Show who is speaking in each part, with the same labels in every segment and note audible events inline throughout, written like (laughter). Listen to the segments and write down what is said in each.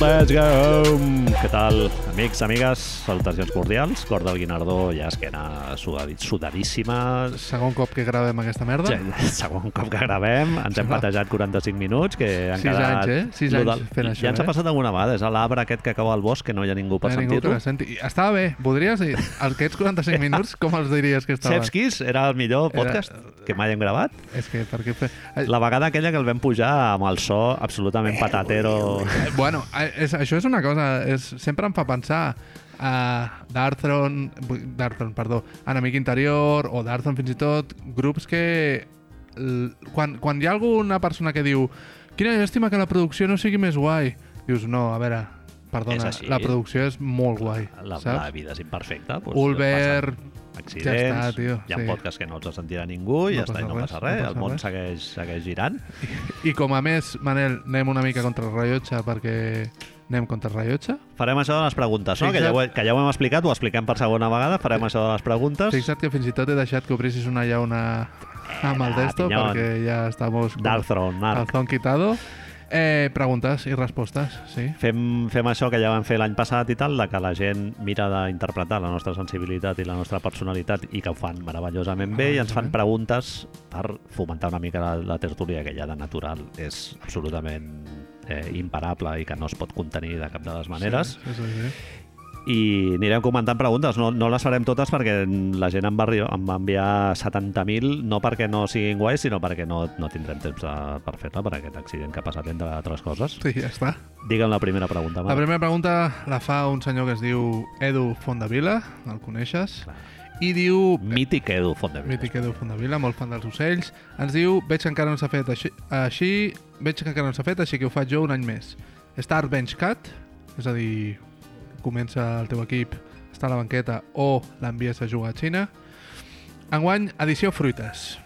Speaker 1: Let's go home. Què tal, amics, amigues? Salutacions cordials. Cor del Guinardó ja esquena sudadi- sudadíssima.
Speaker 2: Segon cop que gravem aquesta merda.
Speaker 1: Ja, Segon cop que gravem, ens hem patejat 45 minuts, que han
Speaker 2: Sis
Speaker 1: quedat...
Speaker 2: anys, eh? Sis
Speaker 1: Lo
Speaker 2: anys fent això,
Speaker 1: Ja ens ha
Speaker 2: eh?
Speaker 1: passat alguna vegada, és l'arbre aquest que cau al bosc, que no hi ha ningú per
Speaker 2: No hi ha Eh, ningú
Speaker 1: sentir-lo.
Speaker 2: que la senti. I Estava bé. Voldries dir, aquests
Speaker 1: (laughs)
Speaker 2: 45 minuts, com els diries que estaven?
Speaker 1: Saps Kiss era el millor
Speaker 2: Era-
Speaker 1: podcast que mai hem gravat.
Speaker 2: És que perquè... Fe... La...
Speaker 1: La vegada aquella que el vam pujar amb el so absolutament patatero...
Speaker 2: Bueno, eh, és, això és una cosa... És, sempre em fa pensar a Darthron... bu- Darthron, perdó. Enemic interior o Darthron fins i tot. Grups que... l- Quan, quan hi ha alguna persona que diu quina llàstima que la producció no sigui més guai, dius, no, a veure,
Speaker 1: És
Speaker 2: perdona,
Speaker 1: així.
Speaker 2: la producció és molt guai,
Speaker 1: La,
Speaker 2: saps?
Speaker 1: la vida és imperfecta. Doncs
Speaker 2: Ulver,
Speaker 1: passen Accidents,
Speaker 2: ja està, tio,
Speaker 1: hi ha
Speaker 2: sí.
Speaker 1: podcasts que no els sentirà ningú i
Speaker 2: No
Speaker 1: ja està, i no
Speaker 2: passa
Speaker 1: passa
Speaker 2: res,
Speaker 1: res, el
Speaker 2: no passa
Speaker 1: món
Speaker 2: res.
Speaker 1: segueix, segueix girant.
Speaker 2: I com a més, Manel, anem una mica contra el rellotge perquè anem contra el rellotge.
Speaker 1: Farem això de les preguntes, no? Que ja, ho, que ja ho hem explicat, ho expliquem per segona vegada, farem això de les preguntes.
Speaker 2: Fixa't que fins i tot he deixat que obrissis una llauna amb el
Speaker 1: va,
Speaker 2: desto
Speaker 1: pinyon.
Speaker 2: perquè ja estamos con
Speaker 1: Darthron,
Speaker 2: el
Speaker 1: Arc.
Speaker 2: zon quitado. Eh, preguntes i respostes, sí.
Speaker 1: Fem, fem això que ja vam fer l'any passat i tal, de que la gent mira d'interpretar la nostra sensibilitat i la nostra personalitat i que ho fan meravellosament bé i ens fan
Speaker 2: Meravellosament.
Speaker 1: preguntes per fomentar una mica la, la tertúlia que ja de natural és absolutament eh, imparable i que no es pot contenir de cap de les maneres.
Speaker 2: Sí, sí, sí, sí.
Speaker 1: i anirem comentant preguntes. No, no les farem totes perquè la gent em va, arri- em va enviar 70.000, no perquè no siguin guais, sinó perquè no, no tindrem temps a, per fer-la per aquest accident que ha passat entre altres coses.
Speaker 2: Sí, ja està.
Speaker 1: Digue'm la primera pregunta.
Speaker 2: La
Speaker 1: Manel.
Speaker 2: primera pregunta la fa un senyor que es diu Edu Fondavila, el coneixes,
Speaker 1: Clar.
Speaker 2: i diu...
Speaker 1: Mític Edu Fondevila.
Speaker 2: Mític Edu Fondavila, molt fan dels ocells. Ens diu, veig que encara no s'ha fet així, així, veig que encara no s'ha fet, així que ho faig jo un any més. Star Bench Cat, és a dir, comença el teu equip, està a la banqueta o l'envies a jugar a Xina. Enguany, edició fruites.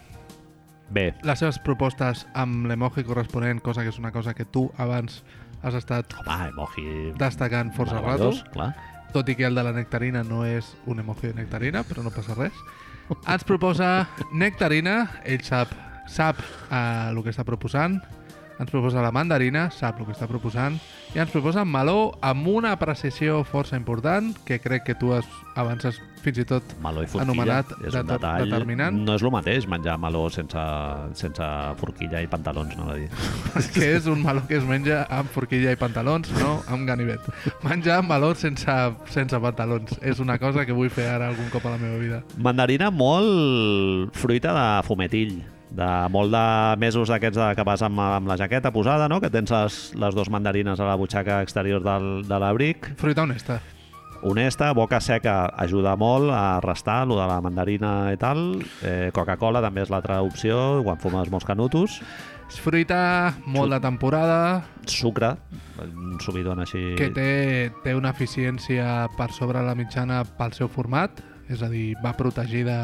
Speaker 1: Bé,
Speaker 2: Les seves propostes amb l'emoji corresponent, cosa que és una cosa que tu abans has estat
Speaker 1: home, emoji...
Speaker 2: destacant força rato,
Speaker 1: meravellós, Clar.
Speaker 2: tot i que el de la nectarina no és un emoji de nectarina, però no passa res. Ens proposa nectarina, ell sap, sap eh, el que està proposant, ens proposa la mandarina, sap el que està proposant, i ens proposa meló amb una precisió força important, que crec que tu has, avances fins i
Speaker 1: (laughs)
Speaker 2: tot
Speaker 1: Meló i forquilla
Speaker 2: Anomenat
Speaker 1: és
Speaker 2: de-
Speaker 1: un detall.
Speaker 2: determinant.
Speaker 1: No és el mateix menjar meló sense, sense forquilla i pantalons, no a dir.
Speaker 2: que és un meló que es menja amb forquilla i pantalons, no amb ganivet. Menjar meló sense, sense pantalons. És una cosa que vull fer ara algun cop a la meva vida.
Speaker 1: Mandarina molt fruita de fumetill, de molt de mesos d'aquests de- que vas amb, amb la jaqueta posada, no? que tens les, les dues mandarines a la butxaca exterior del, de l'abric.
Speaker 2: Fruita honesta.
Speaker 1: Honesta, boca seca, ajuda molt a restar lo de la mandarina i tal. Eh, Coca-Cola també és l'altra opció, quan fumes molts canutos.
Speaker 2: És fruita molt de temporada,
Speaker 1: Sucre, un subidon així...
Speaker 2: que té, té una eficiència per sobre la mitjana pel seu format, és a dir, va protegida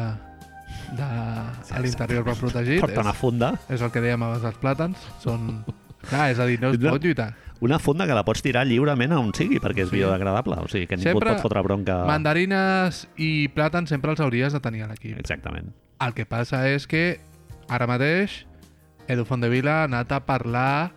Speaker 2: de... a l'interior va protegit.
Speaker 1: Porta una
Speaker 2: És,
Speaker 1: funda,
Speaker 2: és el que dèiem abans dels plàtans. Són... Clar, és a dir, no es pot lluitar.
Speaker 1: una funda que la pots tirar lliurement a on sigui perquè és
Speaker 2: Sí.
Speaker 1: biodegradable, o sigui que ningú
Speaker 2: Sempre
Speaker 1: et pot fotre bronca.
Speaker 2: Mandarines i plàtans sempre els hauries de tenir a l'equip.
Speaker 1: Exactament.
Speaker 2: El que passa és que ara mateix Edu Fondevila ha anat a parlar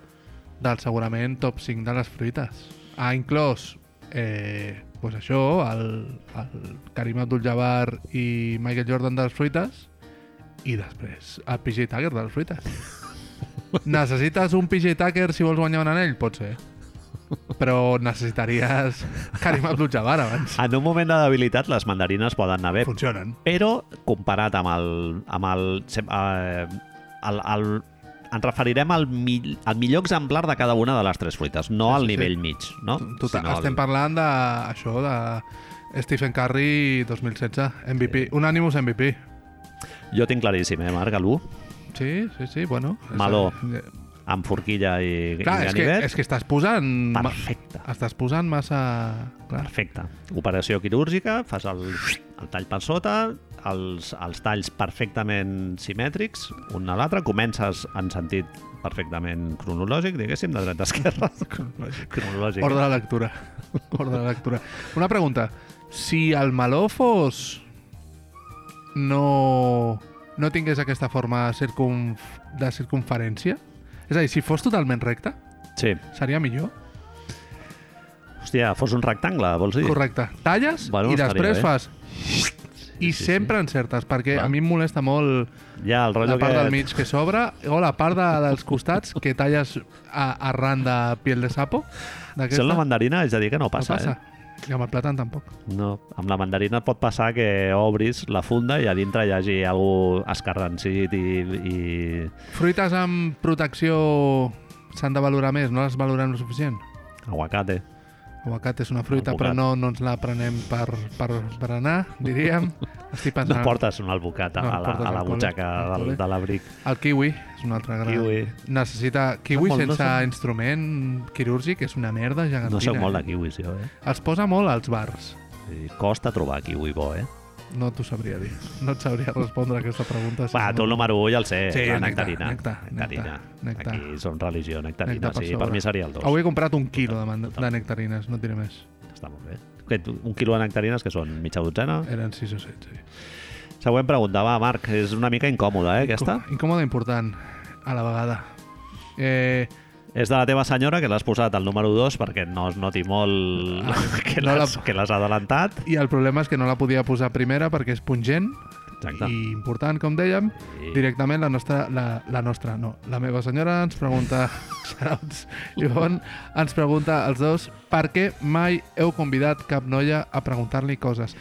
Speaker 2: del segurament top 5 de les fruites. Ha inclòs eh, pues això, el, el Karim Abdul-Jabbar i Michael Jordan de les fruites i després el PJ Tucker de les fruites. Necessites un PJ Tucker si vols guanyar un anell? Pot ser. Però necessitaries Karim Abdul-Jabbar abans.
Speaker 1: En un moment de debilitat les mandarines poden anar bé,
Speaker 2: Funcionen.
Speaker 1: però comparat amb el... Amb el, sem- eh, el, el ens referirem al, mi, al millor exemplar de cada una de les tres fruites, no al
Speaker 2: sí, sí.
Speaker 1: nivell mig. No?
Speaker 2: Total,
Speaker 1: Sinó al-
Speaker 2: estem parlant de, això de Stephen Curry 2016, MVP, un Animus MVP.
Speaker 1: Jo tinc claríssim, eh, Marc, l'1,
Speaker 2: Sí, sí, sí, bueno. és-
Speaker 1: Meló.
Speaker 2: Eh,
Speaker 1: amb forquilla i,
Speaker 2: Clar,
Speaker 1: i
Speaker 2: és que,
Speaker 1: ganivet.
Speaker 2: és que estàs posant... ma-
Speaker 1: Perfecte,
Speaker 2: Estàs posant massa... Clar.
Speaker 1: perfecte. Operació quirúrgica, fas el, el tall per sota, els, els talls perfectament simètrics, un a l'altre, comences en sentit perfectament cronològic, diguéssim, de dreta a
Speaker 2: (laughs)
Speaker 1: esquerra. cronològic.
Speaker 2: Ordre de lectura. (laughs) Ordre de lectura. Una pregunta. Si el meló fos... No... No tingués aquesta forma circunf... de circunferència? És a dir, si fos totalment recta,
Speaker 1: Sí.
Speaker 2: seria millor?
Speaker 1: Hòstia, fos un rectangle, vols dir?
Speaker 2: Correcte. Talles
Speaker 1: Bueno,
Speaker 2: i
Speaker 1: estaria
Speaker 2: després
Speaker 1: bé.
Speaker 2: fas... I
Speaker 1: sí,
Speaker 2: sempre encertes, perquè
Speaker 1: Clar.
Speaker 2: a mi em molesta molt
Speaker 1: Ja, el rotllo
Speaker 2: la part
Speaker 1: aquest...
Speaker 2: del mig que s'obre o la part de, dels costats que talles a, arran de piel de sapo.
Speaker 1: Si és la mandarina, és a dir, que no passa,
Speaker 2: no passa. Eh? I amb el plàtan tampoc.
Speaker 1: eh? No, amb la mandarina et pot passar que obris la funda i a dintre hi hagi algú escarransit i... i...
Speaker 2: Fruites amb protecció s'han de valorar més, no les valorem lo suficient.
Speaker 1: aguacate.
Speaker 2: Aguacat és una fruita,
Speaker 1: Advocat.
Speaker 2: però no, no ens la prenem per, per berenar,
Speaker 1: (laughs)
Speaker 2: diríem. Estic
Speaker 1: No
Speaker 2: pensant...
Speaker 1: portes un albocat a,
Speaker 2: Ah.
Speaker 1: a,
Speaker 2: No,
Speaker 1: la, a
Speaker 2: portes
Speaker 1: la
Speaker 2: alcohol,
Speaker 1: butxaca
Speaker 2: alcohol,
Speaker 1: del,
Speaker 2: eh?
Speaker 1: de l'abric.
Speaker 2: El kiwi és un altre gran.
Speaker 1: Kiwi.
Speaker 2: Necessita kiwi
Speaker 1: molt
Speaker 2: sense
Speaker 1: dolça.
Speaker 2: instrument quirúrgic, és una merda gegantina.
Speaker 1: No sé molt de
Speaker 2: eh?
Speaker 1: kiwis, jo, eh?
Speaker 2: Els posa molt als bars.
Speaker 1: I costa trobar kiwi bo, eh?
Speaker 2: No t'ho sabria dir. No et sabria respondre a aquesta pregunta.
Speaker 1: Va, tu el número 1 ja el sé,
Speaker 2: Sí,
Speaker 1: la
Speaker 2: nectar,
Speaker 1: nectarina.
Speaker 2: nectar,
Speaker 1: nectarina.
Speaker 2: nectar, nectar.
Speaker 1: Aquí són religió, nectarina.
Speaker 2: Nectar per
Speaker 1: sí,
Speaker 2: sobre.
Speaker 1: per mi seria el 2.
Speaker 2: Avui he comprat un quilo de, man- de
Speaker 1: Total.
Speaker 2: nectarines, no et diré més.
Speaker 1: Està molt bé. Aquest, un quilo de nectarines, que són mitja dotzena.
Speaker 2: Eren 6 o 7, sí.
Speaker 1: Següent pregunta, va, Marc, és una mica incòmoda, eh, aquesta?
Speaker 2: Com- Incòmode important, a la vegada. Eh,
Speaker 1: És de la teva senyora, que l'has posat al número 2 perquè no es noti molt (laughs) que
Speaker 2: Ah, no
Speaker 1: l'has que l'has adelantat.
Speaker 2: I el problema és que no la podia posar primera perquè és pungent
Speaker 1: Exacte.
Speaker 2: i important, com dèiem.
Speaker 1: I-
Speaker 2: Directament la nostra, la, la nostra, no, la meva senyora
Speaker 1: (laughs)
Speaker 2: ens pregunta, Xarauts, Ivon, ens pregunta als dos per què mai heu convidat cap noia a preguntar-li coses.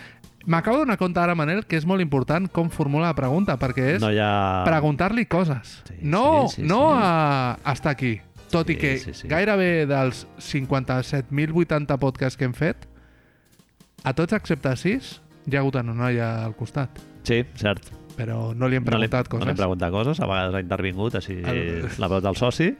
Speaker 2: M'acabo d'adonar compte ara, Manel, que és molt important com formula la pregunta, perquè és
Speaker 1: No hi ha...
Speaker 2: preguntar-li coses.
Speaker 1: Sí,
Speaker 2: no
Speaker 1: sí, sí,
Speaker 2: no
Speaker 1: sí.
Speaker 2: A, a estar aquí. Tot i
Speaker 1: Sí,
Speaker 2: que
Speaker 1: sí, sí.
Speaker 2: gairebé dels 57.080 podcasts que hem fet, a tots excepte a 6, hi ha hagut una noia al costat.
Speaker 1: Sí, cert.
Speaker 2: Però no li hem
Speaker 1: No li,
Speaker 2: preguntat
Speaker 1: no li hem
Speaker 2: coses.
Speaker 1: preguntat coses, a vegades ha intervingut, així
Speaker 2: El-
Speaker 1: la veu del soci,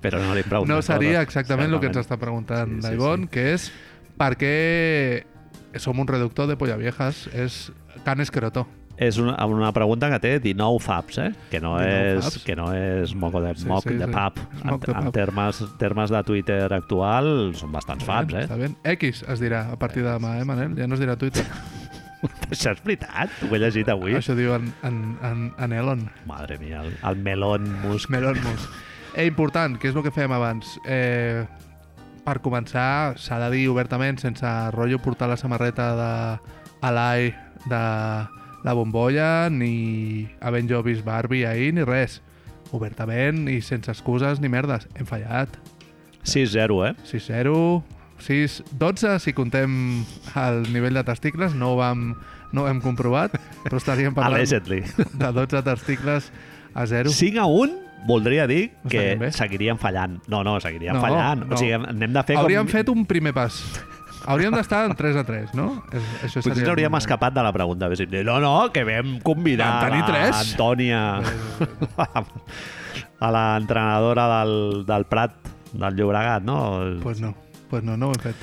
Speaker 1: però no li hem preguntat
Speaker 2: no seria
Speaker 1: coses.
Speaker 2: exactament el que ens està preguntant
Speaker 1: Sí, sí,
Speaker 2: la Ivonne,
Speaker 1: sí.
Speaker 2: que és per què som un reductor de polla viejas, és can escrotó.
Speaker 1: És una, una pregunta que té 19 faps, eh? Que no
Speaker 2: 19
Speaker 1: és,
Speaker 2: faps.
Speaker 1: que no és moco de,
Speaker 2: Sí,
Speaker 1: moc
Speaker 2: sí,
Speaker 1: de
Speaker 2: sí.
Speaker 1: pap. En,
Speaker 2: Moc de
Speaker 1: en
Speaker 2: pap.
Speaker 1: termes, termes de Twitter actual són bastants faps, eh?
Speaker 2: Està bé? X es dirà a partir de demà, eh, Manel? Ja no es dirà a Twitter.
Speaker 1: Això és veritat, ho he llegit avui.
Speaker 2: Això diu en, en, en, en Elon.
Speaker 1: Madre mia, el, el melón musk.
Speaker 2: Melon Musk. Eh, important, que és el que fèiem abans. Eh, per començar, s'ha de dir obertament, sense rotllo portar la samarreta de Alai de la bombolla, ni havent jo vist Barbie ahir, ni res. Obertament i sense excuses ni merdes. Hem fallat.
Speaker 1: 6-0, eh?
Speaker 2: 6-0, 6, 12, si contem el nivell de testicles, no ho, vam, no ho hem comprovat, però estaríem parlant
Speaker 1: Allegedly.
Speaker 2: de 12 testicles a 0.
Speaker 1: 5 a 1 voldria dir
Speaker 2: No
Speaker 1: que
Speaker 2: estaríem bé.
Speaker 1: seguiríem fallant. No, no, seguiríem
Speaker 2: No,
Speaker 1: fallant.
Speaker 2: no.
Speaker 1: O sigui, n'hem de fer
Speaker 2: Hauríem
Speaker 1: com...
Speaker 2: fet un primer pas. Hauríem d'estar en 3 a 3, no? És, això
Speaker 1: Potser
Speaker 2: seria
Speaker 1: ens hauríem
Speaker 2: molt bé.
Speaker 1: escapat de la pregunta. Hauríem dit, No, no, que vam convidar
Speaker 2: Vam tenir
Speaker 1: la
Speaker 2: tres.
Speaker 1: Antònia, a l'entrenadora del, del Prat, del Llobregat, no?
Speaker 2: Pues no, pues no, no ho hem fet.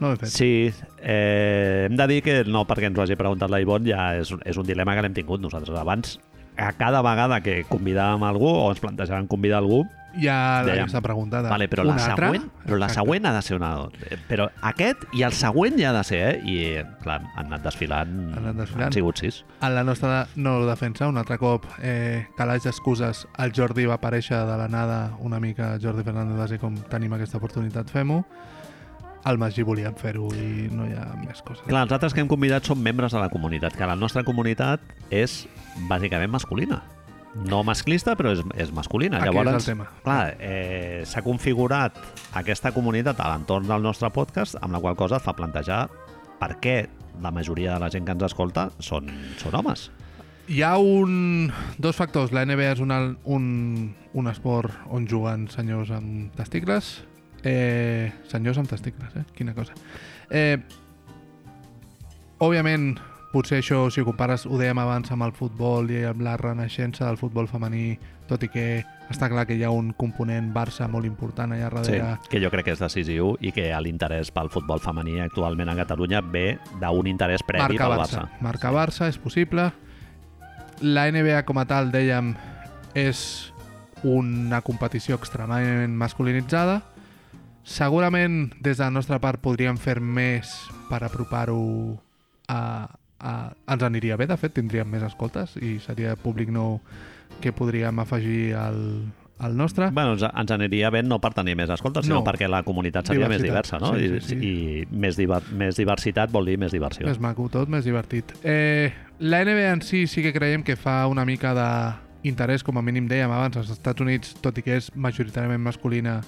Speaker 2: No ho hem fet.
Speaker 1: Sí, eh, hem de dir que no perquè ens ho hagi preguntat la Ivonne, ja és, és un dilema que l'hem tingut nosaltres abans. A cada vegada que convidàvem algú o ens plantejàvem convidar algú,
Speaker 2: Ja
Speaker 1: Dèiem.
Speaker 2: l'hagués preguntat.
Speaker 1: vale, però, la
Speaker 2: Una altra?
Speaker 1: següent, però la
Speaker 2: Exacte.
Speaker 1: següent ha de ser una... eh, Però aquest i el següent ja ha de ser, eh? I, eh, clar, han anat desfilant.
Speaker 2: Han anat desfilant.
Speaker 1: Han sigut sis.
Speaker 2: En la nostra no defensa, un altre cop, eh, calaix d'excuses, el Jordi va aparèixer de la nada una mica, Jordi Fernández va ser com tenim aquesta oportunitat, fem-ho. El Magí volíem fer-ho i no hi ha més coses.
Speaker 1: Clar, els altres que hem convidat són membres de la comunitat, que la nostra comunitat és bàsicament masculina. No masclista, però és, és masculina.
Speaker 2: Aquí
Speaker 1: Llavors,
Speaker 2: és el tema.
Speaker 1: Clar, eh, s'ha configurat aquesta comunitat a l'entorn del nostre podcast, amb la qual cosa et fa plantejar per què la majoria de la gent que ens escolta són, són homes.
Speaker 2: Hi ha un, dos factors. La NBA és un, al- un, un esport on juguen senyors amb testicles. Eh, senyors amb testicles, eh? Quina cosa. Eh, òbviament, potser això, si ho compares, ho dèiem abans amb el futbol i amb la renaixença del futbol femení, tot i que està clar que hi ha un component Barça molt important allà
Speaker 1: Sí,
Speaker 2: darrere.
Speaker 1: que jo crec que és decisiu i que l'interès pel futbol femení actualment a Catalunya ve d'un interès previ
Speaker 2: Marca
Speaker 1: pel
Speaker 2: Barça.
Speaker 1: Barça.
Speaker 2: Marca Barça, és possible. La NBA com a tal, dèiem, és una competició extremadament masculinitzada. Segurament, des de la nostra part, podríem fer més per apropar-ho a, a... Ens aniria bé, de fet, tindríem més escoltes i seria públic nou que podríem afegir al, el nostre.
Speaker 1: Bueno, ens, ens aniria bé no per tenir més escoltes, sinó
Speaker 2: Ah. No.
Speaker 1: perquè la comunitat seria més diversa,
Speaker 2: Diversitat.
Speaker 1: no?
Speaker 2: Sí,
Speaker 1: I,
Speaker 2: sí,
Speaker 1: I més, diver, més diversitat vol dir més diversió.
Speaker 2: Més maco tot, més divertit. Eh, la NBA en si sí que creiem que fa una mica d'interès, com a mínim dèiem abans, als Estats Units, tot i que és majoritàriament masculina,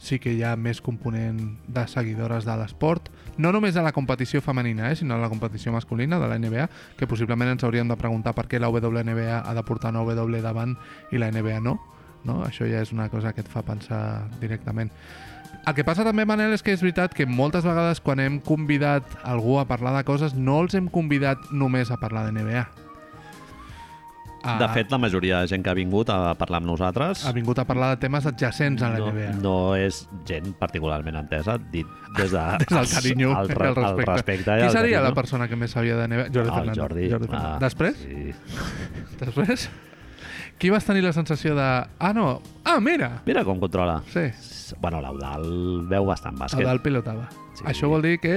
Speaker 2: sí que hi ha més component de seguidores de l'esport. No només de la competició femenina, eh, sinó de la competició masculina de la NBA, que possiblement ens hauríem de preguntar per què la WNBA ha de portar una W davant i la NBA no. no? Això ja és una cosa que et fa pensar directament. El que passa també, Manel, és que és veritat que moltes vegades quan hem convidat algú a parlar de coses no els hem convidat només a parlar de NBA. Ah,
Speaker 1: De fet, la majoria de gent que ha vingut a parlar amb nosaltres
Speaker 2: ha vingut a parlar de temes adjacents a la
Speaker 1: no,
Speaker 2: NBA.
Speaker 1: no és gent particularment entesa, dit des, de,
Speaker 2: (laughs) Des del carinyo
Speaker 1: el,
Speaker 2: i
Speaker 1: re-
Speaker 2: el
Speaker 1: El
Speaker 2: respecte.
Speaker 1: respecte i
Speaker 2: Qui
Speaker 1: el
Speaker 2: seria la
Speaker 1: carinyo.
Speaker 2: persona que més sabia de NBA? Jordi
Speaker 1: el
Speaker 2: Fernández.
Speaker 1: Jordi.
Speaker 2: Jordi
Speaker 1: clar.
Speaker 2: Fernández. Després?
Speaker 1: Sí.
Speaker 2: Després? Qui vas tenir la sensació de... Ah, no! Ah, mira!
Speaker 1: Mira com controla.
Speaker 2: Sí,
Speaker 1: Bueno, l'Eudal veu bastant bàsquet.
Speaker 2: el del pilotava.
Speaker 1: Sí.
Speaker 2: Això vol dir que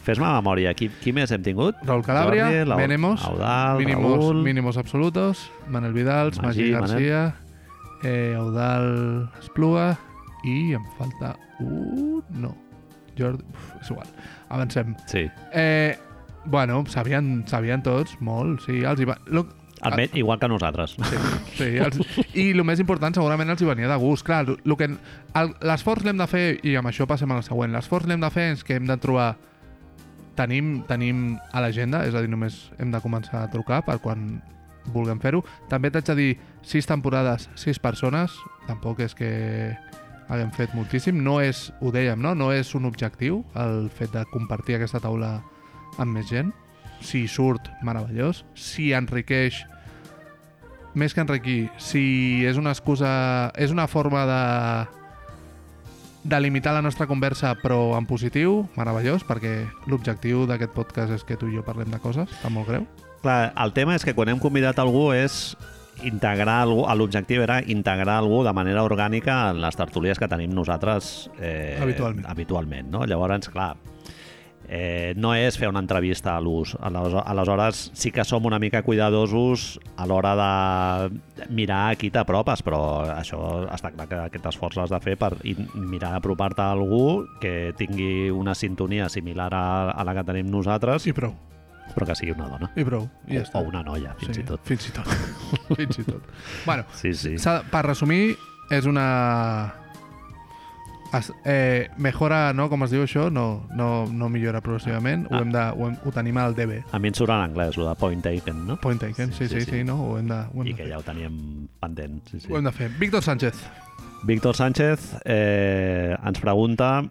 Speaker 1: Fes-me memòria, qui, qui més hem tingut?
Speaker 2: Raúl Calabria,
Speaker 1: Jordi, l'Au-
Speaker 2: Venemos,
Speaker 1: Eudal,
Speaker 2: mínimos,
Speaker 1: Raül...
Speaker 2: mínimos absolutos, Manel Vidal, Magí,
Speaker 1: Magí, Manel.
Speaker 2: García, eh, Eudal Espluga i em falta un... no. Jordi... Uf, és igual. Avancem.
Speaker 1: Sí.
Speaker 2: Eh, bueno, sabien, sabien tots, molt, sí, els hi va... Lo,
Speaker 1: Almenys, igual que nosaltres.
Speaker 2: sí, els, I el més important segurament els hi venia de gust. Clar, lo, lo que, el- l'esforç l'hem de fer, i amb això passem a la següent, l'esforç l'hem de fer és que hem de trobar tenim, tenim a l'agenda, és a dir, només hem de començar a trucar per quan vulguem fer-ho. També t'haig de dir, sis temporades, sis persones, tampoc és que haguem fet moltíssim. No és, ho dèiem, no? No és un objectiu el fet de compartir aquesta taula amb més gent. Si surt, meravellós. Si enriqueix, més que enriquir, si és una excusa, és una forma de de limitar la nostra conversa però en positiu, meravellós, perquè l'objectiu d'aquest podcast és que tu i jo parlem de coses, està molt greu.
Speaker 1: Clar, el tema és que quan hem convidat algú és integrar algú, l'objectiu era integrar algú de manera orgànica en les tertúlies que tenim nosaltres eh,
Speaker 2: Habitualment.
Speaker 1: habitualment no? Llavors, clar, eh, no és fer una entrevista a l'ús. Aleshores, aleshores, sí que som una mica cuidadosos a l'hora de mirar a qui t'apropes, però això està clar que aquest esforç l'has de fer per in- mirar apropar-te a algú que tingui una sintonia similar a, a la que tenim nosaltres,
Speaker 2: I prou,
Speaker 1: però que sigui una dona.
Speaker 2: i prou. I
Speaker 1: O, o una noia, fins sí. i tot.
Speaker 2: Fins i tot. (laughs) fins i tot. Bueno,
Speaker 1: Sí, sí.
Speaker 2: s'ha- per resumir, és una... Es, eh, mejora, no? Com es diu això? No, no, no millora progressivament.
Speaker 1: Ah.
Speaker 2: Ho, hem de, ho, hem, ho tenim al DB.
Speaker 1: A mi em surt en anglès, el de point taken, no?
Speaker 2: Point taken, sí, sí, sí, sí, no? Ho hem de, ho hem
Speaker 1: I
Speaker 2: de
Speaker 1: que
Speaker 2: fer.
Speaker 1: ja ho teníem pendent. Sí, sí.
Speaker 2: Ho hem de fer. Víctor Sánchez.
Speaker 1: Víctor Sánchez eh, ens pregunta...
Speaker 2: Ah.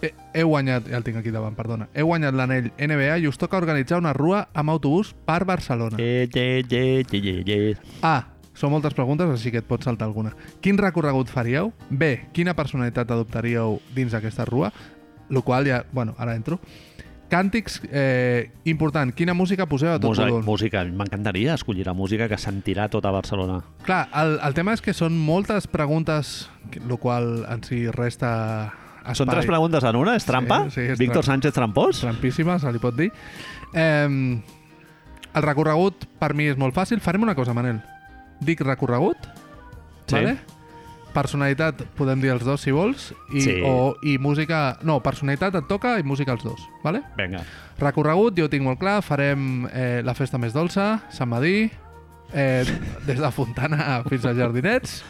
Speaker 2: He, he guanyat, ja el tinc aquí davant, perdona. He guanyat l'anell NBA i us toca organitzar una rua amb autobús per Barcelona.
Speaker 1: Eh, eh, eh, eh, eh, eh.
Speaker 2: A. Són moltes preguntes, així que et pots saltar alguna. Quin recorregut faríeu? B. Quina personalitat adoptaríeu dins d'aquesta rua? Lo qual ja... Bueno, ara entro. Càntics, eh, important, quina música poseu a tot
Speaker 1: Musa,
Speaker 2: volum?
Speaker 1: música, m'encantaria escollir la música que sentirà tota Barcelona.
Speaker 2: Clar, el, el tema és que són moltes preguntes, que- lo qual en si resta espai.
Speaker 1: Són tres preguntes en una, és trampa?
Speaker 2: sí, és
Speaker 1: Víctor
Speaker 2: trampa.
Speaker 1: Sánchez trampós?
Speaker 2: Trampíssima, se li pot dir. Eh, el recorregut per mi és molt fàcil. Farem una cosa, Manel. Dic recorregut,
Speaker 1: Sí.
Speaker 2: vale? personalitat podem dir els dos si vols i,
Speaker 1: Sí.
Speaker 2: o, i música... No, personalitat et toca i música els dos, vale?
Speaker 1: Vinga.
Speaker 2: Recorregut, jo ho tinc molt clar, farem eh, la festa més dolça, Sant Madí, eh, des de Fontana fins a Jardinets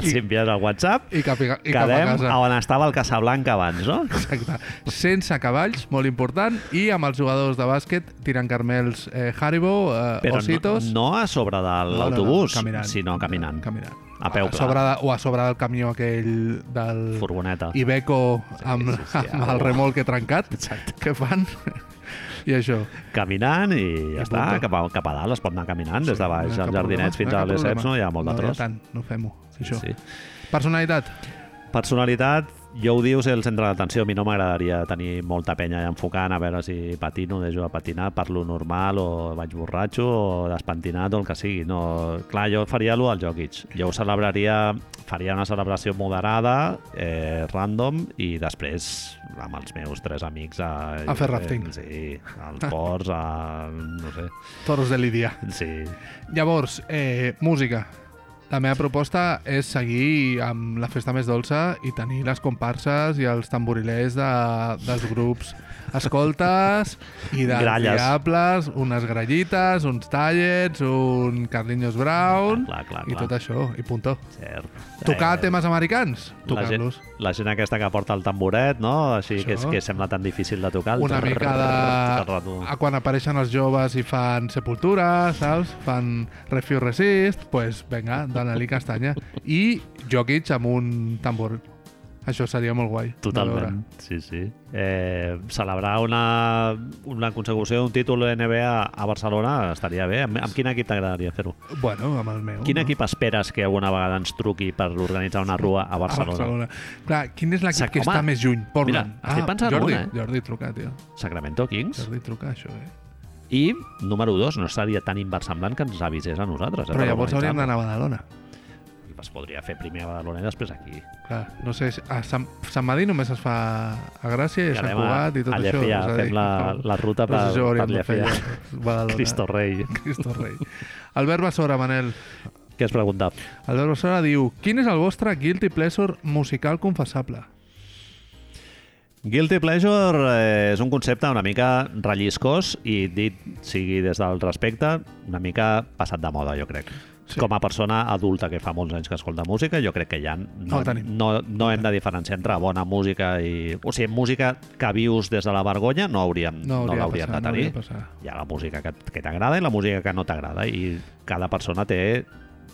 Speaker 1: Els envies al WhatsApp.
Speaker 2: i cap, i, ca- i cap a
Speaker 1: Quedem
Speaker 2: casa.
Speaker 1: a on estava el Casablanca abans, no?
Speaker 2: Exacte. Sense cavalls, molt important, i amb els jugadors de bàsquet tirant carmels eh, Haribo, eh,
Speaker 1: Però no,
Speaker 2: ositos...
Speaker 1: no a sobre de l'autobús, sinó caminant.
Speaker 2: caminant.
Speaker 1: A peu
Speaker 2: a
Speaker 1: pla.
Speaker 2: sobre de, o a sobre del camió aquell del
Speaker 1: Furgoneta.
Speaker 2: Ibeco amb,
Speaker 1: sí, sí,
Speaker 2: amb
Speaker 1: au.
Speaker 2: el remolque trencat
Speaker 1: Exacte.
Speaker 2: que fan i això
Speaker 1: caminant i ja
Speaker 2: I
Speaker 1: està,
Speaker 2: punto.
Speaker 1: cap a, cap a dalt es pot anar caminant des de baix,
Speaker 2: no hi
Speaker 1: als
Speaker 2: ha cap
Speaker 1: jardinets
Speaker 2: problema,
Speaker 1: fins a
Speaker 2: cap
Speaker 1: les
Speaker 2: problema.
Speaker 1: Eps no hi ha molt de
Speaker 2: no hi ha
Speaker 1: tros.
Speaker 2: tant, no fem-ho això.
Speaker 1: Sí.
Speaker 2: personalitat,
Speaker 1: Personalitat, jo ho dius, el centre d'atenció, a mi no m'agradaria tenir molta penya enfocant, a veure si patino, deixo de patinar, parlo normal, o vaig borratxo, o despentinat, o el que sigui. No, clar, jo faria lo del Jokic. Jo ho celebraria, faria una celebració moderada, eh, random, i després amb els meus tres amics... A,
Speaker 2: A fer rafting.
Speaker 1: Sí, als ports, a... no sé.
Speaker 2: toros de Lídia
Speaker 1: Sí,
Speaker 2: llavors, eh, música La meva proposta és seguir amb la festa més dolça i tenir les comparses i els tamborilers de, dels grups escoltes i dels
Speaker 1: Gralles.
Speaker 2: diables, unes grallites, uns tallets, un Carlinhos Brown
Speaker 1: Ah, Clar, clar,
Speaker 2: i
Speaker 1: clar.
Speaker 2: tot això, i puntó.
Speaker 1: Cert.
Speaker 2: Tocar
Speaker 1: Eh,
Speaker 2: temes americans,
Speaker 1: la gent,
Speaker 2: tocar-los.
Speaker 1: la gent aquesta que porta el tamboret, no? Així que, és,
Speaker 2: Això.
Speaker 1: que sembla tan difícil de tocar. el
Speaker 2: Una
Speaker 1: trrr,
Speaker 2: mica
Speaker 1: (laughs) tot el
Speaker 2: de...
Speaker 1: rato.
Speaker 2: A quan apareixen els joves i fan sepultura, saps? Fan Refuse Resist, doncs pues, vinga, dona-li castanya. I Jokic amb un tambor. Això seria molt guai. de
Speaker 1: Totalment, sí, sí. Eh, celebrar una, una consecució d'un títol NBA a Barcelona estaria bé. Amb, amb quin equip t'agradaria fer-ho?
Speaker 2: veure. Bueno, amb el meu.
Speaker 1: Quin
Speaker 2: no?
Speaker 1: equip esperes que alguna vegada ens truqui per organitzar una rua a
Speaker 2: A
Speaker 1: Barcelona?
Speaker 2: Barcelona. Clar, quin és l'equip
Speaker 1: Sac-
Speaker 2: que
Speaker 1: Home,
Speaker 2: està més lluny? Portland. Ah,
Speaker 1: mira, estic pensant en
Speaker 2: Jordi,
Speaker 1: una, eh?
Speaker 2: Jordi, truca, tio.
Speaker 1: Sacramento Kings.
Speaker 2: Jordi, truca, això, eh?
Speaker 1: I, número 2, no seria tan inversemblant que ens avisés a nosaltres. eh,
Speaker 2: Però
Speaker 1: per
Speaker 2: llavors hauríem
Speaker 1: organitzar-la.
Speaker 2: d'anar a Badalona.
Speaker 1: Es podria fer primer a Badalona i després aquí.
Speaker 2: Clar, no sé, a Sant, Sant Madí només es fa a Gràcia i a Sant
Speaker 1: anem a-
Speaker 2: Cugat i tot
Speaker 1: a
Speaker 2: això.
Speaker 1: Llefià,
Speaker 2: és a dir,
Speaker 1: fem la-
Speaker 2: no.
Speaker 1: la ruta
Speaker 2: Però
Speaker 1: per-
Speaker 2: això hauríem
Speaker 1: per
Speaker 2: de fer eh?
Speaker 1: Llefià.
Speaker 2: ja, Badalona.
Speaker 1: (laughs) Cristo Rei.
Speaker 2: Cristo Rei. Albert Basora, Manel.
Speaker 1: Què has preguntat?
Speaker 2: Albert Basora diu Quin és el vostre guilty pleasure musical confessable?
Speaker 1: Guilty pleasure eh, és un concepte una mica relliscós i dit sigui des del respecte, una mica passat de moda, jo crec.
Speaker 2: Sí.
Speaker 1: Sí. Com a persona adulta que fa molts anys que escolta música, jo crec que ja no,
Speaker 2: El tenim.
Speaker 1: no, no hem de diferenciar entre bona música i... O sigui, música que vius des de la vergonya no hauríem, no,
Speaker 2: hauria
Speaker 1: no
Speaker 2: de
Speaker 1: l'hauríem
Speaker 2: passar,
Speaker 1: de
Speaker 2: no
Speaker 1: tenir.
Speaker 2: hauria de passar.
Speaker 1: hi ha la música que, que t'agrada i la música que no t'agrada i cada persona té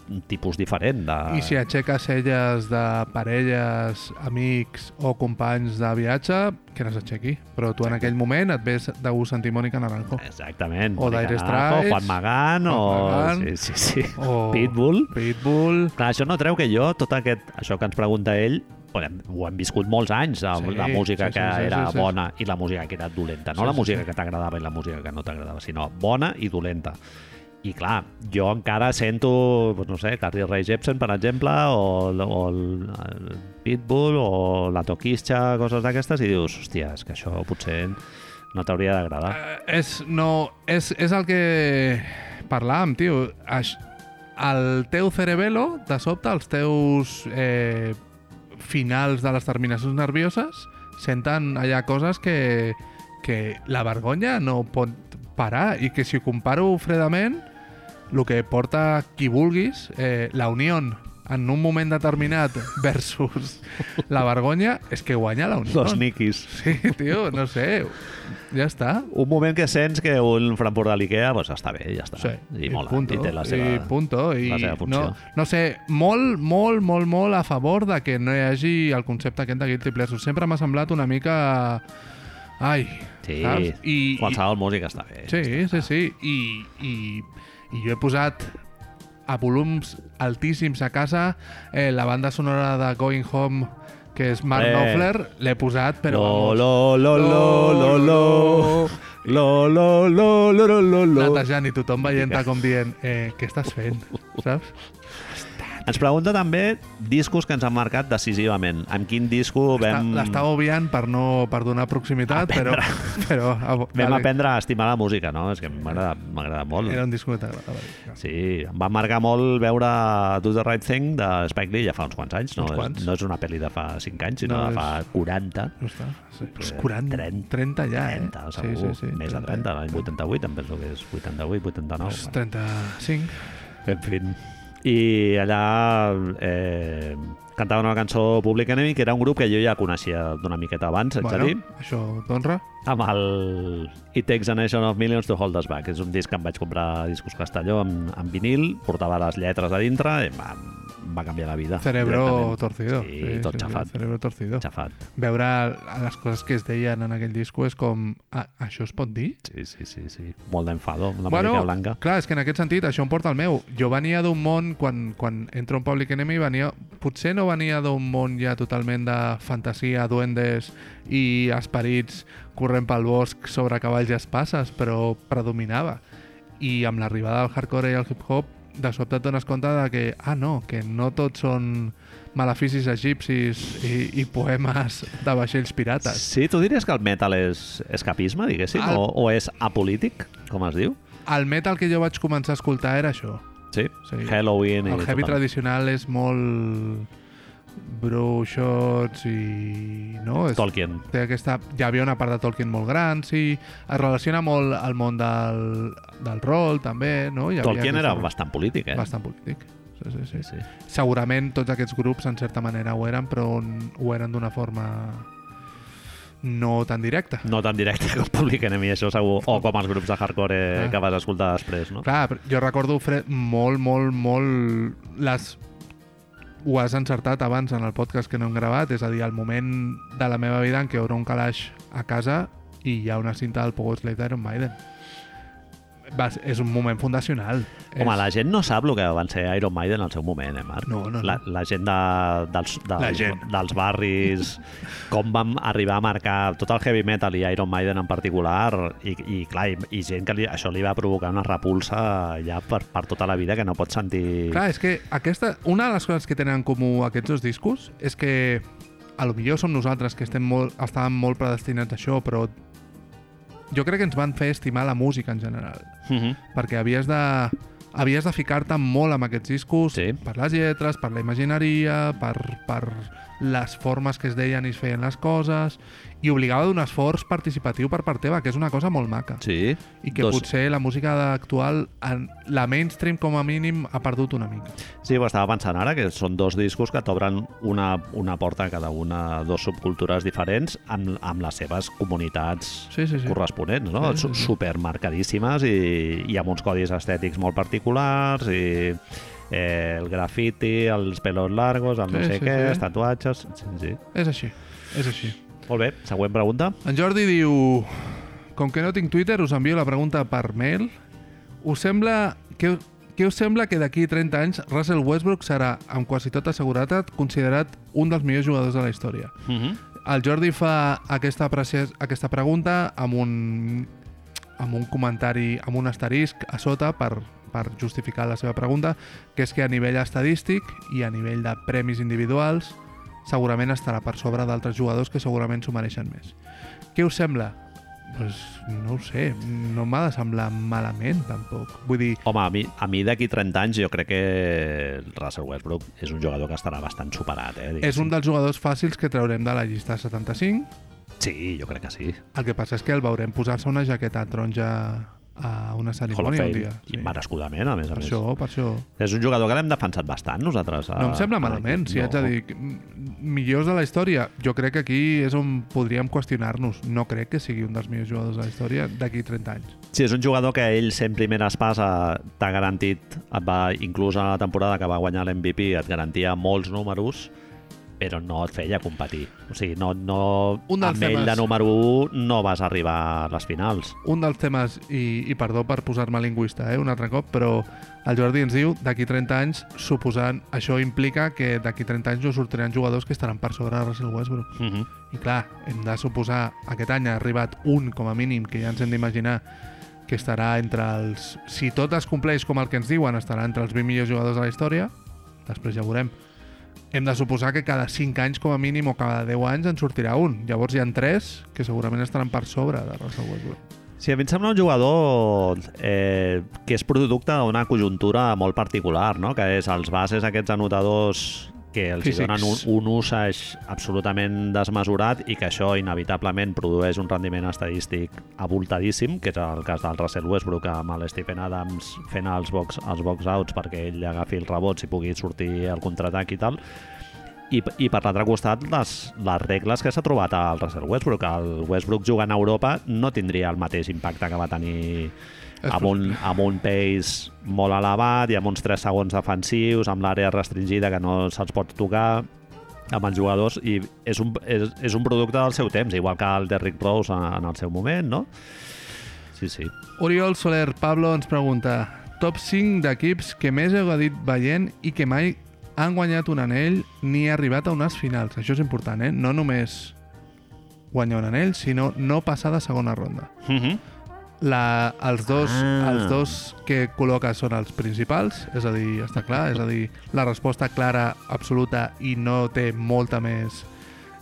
Speaker 1: un tipus diferent de...
Speaker 2: I si aixeques elles de parelles, amics o companys de viatge, que les aixequi. Però tu en aquell moment et ves de gust sentir Mònica Naranjo.
Speaker 1: Exactament.
Speaker 2: O
Speaker 1: Mónica
Speaker 2: d'Aire
Speaker 1: Naranjo,
Speaker 2: Straits,
Speaker 1: Juan Magán, o...
Speaker 2: Juan Magán,
Speaker 1: sí, sí, sí.
Speaker 2: O
Speaker 1: Pitbull.
Speaker 2: Pitbull.
Speaker 1: Clar, això no treu que jo, tot aquest, això que ens pregunta ell, ho hem, ho hem viscut molts anys, la,
Speaker 2: Sí,
Speaker 1: la música
Speaker 2: sí,
Speaker 1: que
Speaker 2: sí, sí,
Speaker 1: era
Speaker 2: sí, sí.
Speaker 1: bona i la música que era dolenta. No la
Speaker 2: Sí, sí,
Speaker 1: música
Speaker 2: sí.
Speaker 1: que t'agradava i la música que no t'agradava, sinó bona i dolenta. I clar, jo encara sento, doncs no sé, Carly Rae Jepsen, per exemple, o, el- o el, el Pitbull, o la Toquischa, coses d'aquestes, i dius, hòstia, és que això potser no t'hauria d'agradar.
Speaker 2: Eh, és, no, és, és el que parlàvem, tio. Aix, el teu cerebelo, de sobte, els teus eh, finals de les terminacions nervioses senten allà coses que, que la vergonya no pot parar i que si ho comparo fredament el que porta qui vulguis eh, la unió en un moment determinat (laughs) versus la vergonya és que guanya la unió.
Speaker 1: Los niquis.
Speaker 2: Sí, tio, no sé. Ja està.
Speaker 1: un moment que sents que un Frankfurt de l'Ikea pues, està bé, ja està.
Speaker 2: Sí,
Speaker 1: I mola,
Speaker 2: punto,
Speaker 1: i té la seva...
Speaker 2: i punto, i
Speaker 1: la seva funció.
Speaker 2: No, no sé, molt, molt, molt, molt a favor de que no hi hagi el concepte aquest de guilty pleasure. Sempre m'ha semblat una mica... Ai,
Speaker 1: Sí,
Speaker 2: saps? I,
Speaker 1: qualsevol música està bé.
Speaker 2: i, sí, sí, sí. I, i, I jo he posat a volums altíssims a casa eh, la banda sonora de Going Home que és Mark
Speaker 1: Eh.
Speaker 2: Knopfler, l'he posat, però...
Speaker 1: Lo,
Speaker 2: vamos,
Speaker 1: lo, lo, lo, lo, lo, lo, lo, lo, lo, lo, lo, lo.
Speaker 2: netejant i tothom veient-te com dient eh, què estàs
Speaker 1: (laughs)
Speaker 2: fent, saps?
Speaker 1: Ens pregunta també discos que ens han marcat decisivament. Amb quin disco vam,
Speaker 2: L'estava L'estava obviant per no per donar proximitat, però, (laughs) però ah, a,
Speaker 1: vam aprendre a estimar la música, no? És que m'agrada m'agrada molt.
Speaker 2: Era un disco que t'agradava. vinga.
Speaker 1: Sí, em va marcar molt veure Do the Right Thing de Spike Lee ja fa uns quants anys. No,
Speaker 2: Uns quants.
Speaker 1: és, no és una pel·li de fa 5 anys, sinó
Speaker 2: No,
Speaker 1: de
Speaker 2: és-
Speaker 1: fa 40.
Speaker 2: No està. Sí. Però és 40, 30, 30 ja,
Speaker 1: 30,
Speaker 2: eh?
Speaker 1: Eh, segur. Sí, sí, sí, Més de 30, l'any 88, em penso que és 88, 89.
Speaker 2: Doncs 35.
Speaker 1: En fi. I allà eh, cantaven una cançó Public Enemy, que era un grup que jo ja coneixia d'una miqueta abans, bueno. a dir,
Speaker 2: això t'honra.
Speaker 1: amb el It Takes a Nation of Millions to Hold Us Back. És un disc que em vaig comprar a Discos Castelló en, en vinil, portava les lletres a dintre i em va, em va canviar la vida.
Speaker 2: Cerebro
Speaker 1: directament.
Speaker 2: torcido.
Speaker 1: Sí, tot xafat.
Speaker 2: Cerebro torcido.
Speaker 1: Xafat.
Speaker 2: Veure les coses que es deien en aquell disco és com... "Ah, això es pot dir?
Speaker 1: Sí, sí, sí, sí. Molt d'enfador, una bueno, blanca.
Speaker 2: clar, és que en aquest sentit això em porta al meu. Jo venia d'un món, quan, quan entro en Public Enemy, venia, potser no venia d'un món ja totalment de fantasia, duendes i esperits corrent pel bosc sobre cavalls i espasses, però predominava. I amb l'arribada del hardcore i el hip-hop, de sobte et dones compte de que, ah, no, que no tots són maleficis egipcis i, i poemes de vaixells pirates.
Speaker 1: Sí, tu diries que el metal és escapisme, diguéssim,
Speaker 2: El-
Speaker 1: o, o és apolític, com es diu?
Speaker 2: El metal que jo vaig començar a escoltar era això.
Speaker 1: Sí,
Speaker 2: Sí.
Speaker 1: Halloween i
Speaker 2: El heavy
Speaker 1: tot
Speaker 2: tradicional és molt bruixots i... No? És,
Speaker 1: Tolkien.
Speaker 2: té aquesta... Ja hi havia una part de Tolkien molt gran, sí. Es relaciona molt al món del, del rol, també, no? Hi havia
Speaker 1: Tolkien era
Speaker 2: aquesta-
Speaker 1: bastant polític, eh?
Speaker 2: bastant polític. Sí, sí,
Speaker 1: Sí,
Speaker 2: sí.
Speaker 1: sí.
Speaker 2: Segurament tots aquests grups, en certa manera, ho eren, però on- ho eren d'una forma no tan directa.
Speaker 1: No tan directe com Public Enemy, això segur. O com els grups de hardcore eh,
Speaker 2: Clar.
Speaker 1: que vas escoltar després, no?
Speaker 2: Clar, però jo recordo Fred, molt, molt, molt... Les... Ho has encertat abans en el podcast que no hem gravat, és a dir, el moment de la meva vida en què obro un calaix a casa i hi ha una cinta del Pogo Slave d'Iron Maiden. Va, ser- és un moment fundacional.
Speaker 1: Home,
Speaker 2: és...
Speaker 1: la gent no sap el que van ser Iron Maiden al seu moment, eh, Marc?
Speaker 2: No, no, no.
Speaker 1: La, la gent de, dels, dels,
Speaker 2: La gent.
Speaker 1: dels barris, com vam arribar a marcar tot el heavy metal i Iron Maiden en particular, i, i clar, i, i gent que li, això li va provocar una repulsa ja per, per tota la vida que no pot sentir...
Speaker 2: Clar, és que aquesta, una de les coses que tenen en comú aquests dos discos és que a lo millor som nosaltres que estem molt, estàvem molt predestinats a això, però jo crec que ens van fer estimar la música en general,
Speaker 1: Mm -hmm.
Speaker 2: perquè havies de havies de ficar-te molt amb aquests discos
Speaker 1: Sí.
Speaker 2: per les lletres, per la imagineria, per, per les formes que es deien i es feien les coses, i obligava a d'un esforç participatiu per part teva, que és una cosa molt maca.
Speaker 1: Sí.
Speaker 2: I que
Speaker 1: Dos-
Speaker 2: potser la música actual, en la mainstream com a mínim, ha perdut una mica.
Speaker 1: Sí, ho estava pensant ara, que són dos discos que t'obren una, una porta a cada una, dos subcultures diferents amb, amb les seves comunitats
Speaker 2: Sí, sí, sí.
Speaker 1: corresponents, no?
Speaker 2: Sí, sí, sí.
Speaker 1: Supermarcadíssimes i, i amb uns codis estètics molt particulars i eh, el grafiti, els pelos largos, el no
Speaker 2: Sí,
Speaker 1: sé
Speaker 2: sí,
Speaker 1: què,
Speaker 2: sí.
Speaker 1: els tatuatges... Sí, sí.
Speaker 2: És així, és així.
Speaker 1: Molt bé, següent pregunta.
Speaker 2: En Jordi diu... Com que no tinc Twitter, us envio la pregunta per mail. Us sembla... Què, què us sembla que d'aquí 30 anys Russell Westbrook serà, amb quasi tota seguretat, considerat un dels millors jugadors de la història?
Speaker 1: Mm -hmm.
Speaker 2: El Jordi fa aquesta, preci- aquesta pregunta amb un, amb un comentari, amb un asterisc a sota per, per justificar la seva pregunta, que és que a nivell estadístic i a nivell de premis individuals segurament estarà per sobre d'altres jugadors que segurament s'ho mereixen més. Què us sembla? Pues no ho sé, no m'ha de semblar malament tampoc. Vull dir,
Speaker 1: Home, a mi, a mi d'aquí 30 anys jo crec que el Russell Westbrook és un jugador que estarà bastant superat, eh?
Speaker 2: és
Speaker 1: diguéssim.
Speaker 2: un dels jugadors fàcils que traurem de la llista 75,
Speaker 1: Sí, jo crec que sí.
Speaker 2: El que passa és que el veurem posar-se una jaqueta taronja a
Speaker 1: Hall
Speaker 2: una
Speaker 1: of
Speaker 2: cerimònia un
Speaker 1: Fame,
Speaker 2: dia.
Speaker 1: i merescudament, a més a
Speaker 2: Per
Speaker 1: més.
Speaker 2: això, per això.
Speaker 1: És un jugador que l'hem defensat bastant, nosaltres. a-
Speaker 2: No em sembla
Speaker 1: a
Speaker 2: malament,
Speaker 1: l'equip.
Speaker 2: si haig de dir que, mm, millors de la història. Jo crec que aquí és on podríem qüestionar-nos. No crec que sigui un dels millors jugadors de la història d'aquí 30 anys.
Speaker 1: Sí, és un jugador que ell sent primera espasa t'ha garantit, et va, inclús a la temporada que va guanyar l'MVP, et garantia molts números, però no et feia competir. O sigui, no, no,
Speaker 2: Un dels
Speaker 1: amb ell
Speaker 2: temes-
Speaker 1: de número 1 no vas arribar a les finals.
Speaker 2: Un dels temes, i, i perdó per posar-me lingüista eh, un altre cop, però el Jordi ens diu d'aquí 30 anys, suposant això implica que d'aquí 30 anys no sortiran jugadors que estaran per sobre de Russell Westbrook.
Speaker 1: Mm -hmm.
Speaker 2: I clar, hem de suposar aquest any ha arribat un com a mínim, que ja ens hem d'imaginar que estarà entre els... Si tot es compleix com el que ens diuen, estarà entre els 20 millors jugadors de la història. Després ja ho veurem. Hem de suposar que cada 5 anys com a mínim o cada 10 anys en sortirà un. Llavors hi han 3 que segurament estaran per sobre de Russell Westbrook.
Speaker 1: Sí, a mi em sembla un jugador eh, que és producte d'una conjuntura molt particular, no? que és els bases aquests anotadors que els hi
Speaker 2: Físics.
Speaker 1: donen un, un usage absolutament desmesurat i que això inevitablement produeix un rendiment estadístic avoltadíssim, que és el cas del Russell Westbrook amb el Stephen Adams fent els box, els box outs perquè ell agafi els rebots i pugui sortir al contraatac i tal. I, i per l'altre costat, les, les regles que s'ha trobat al Russell Westbrook. El Westbrook jugant a Europa no tindria el mateix impacte que va tenir amb un, amb un pace molt elevat i amb uns 3 segons defensius, amb l'àrea restringida que no se'ls pot tocar amb els jugadors i és un, és, és un producte del seu temps, igual que el Derrick Rose en, en el seu moment, no? Sí, sí.
Speaker 2: Oriol Soler Pablo ens pregunta Top 5 d'equips que més heu dit veient i que mai han guanyat un anell ni ha arribat a unes finals. Això és important, eh? No només guanyar un anell, sinó no passar de segona ronda.
Speaker 1: Mm -hmm.
Speaker 2: La, els, dos,
Speaker 1: Ah.
Speaker 2: ah. els dos que col·loca són els principals, és a dir, està clar, és a dir, la resposta clara, absoluta i no té molta més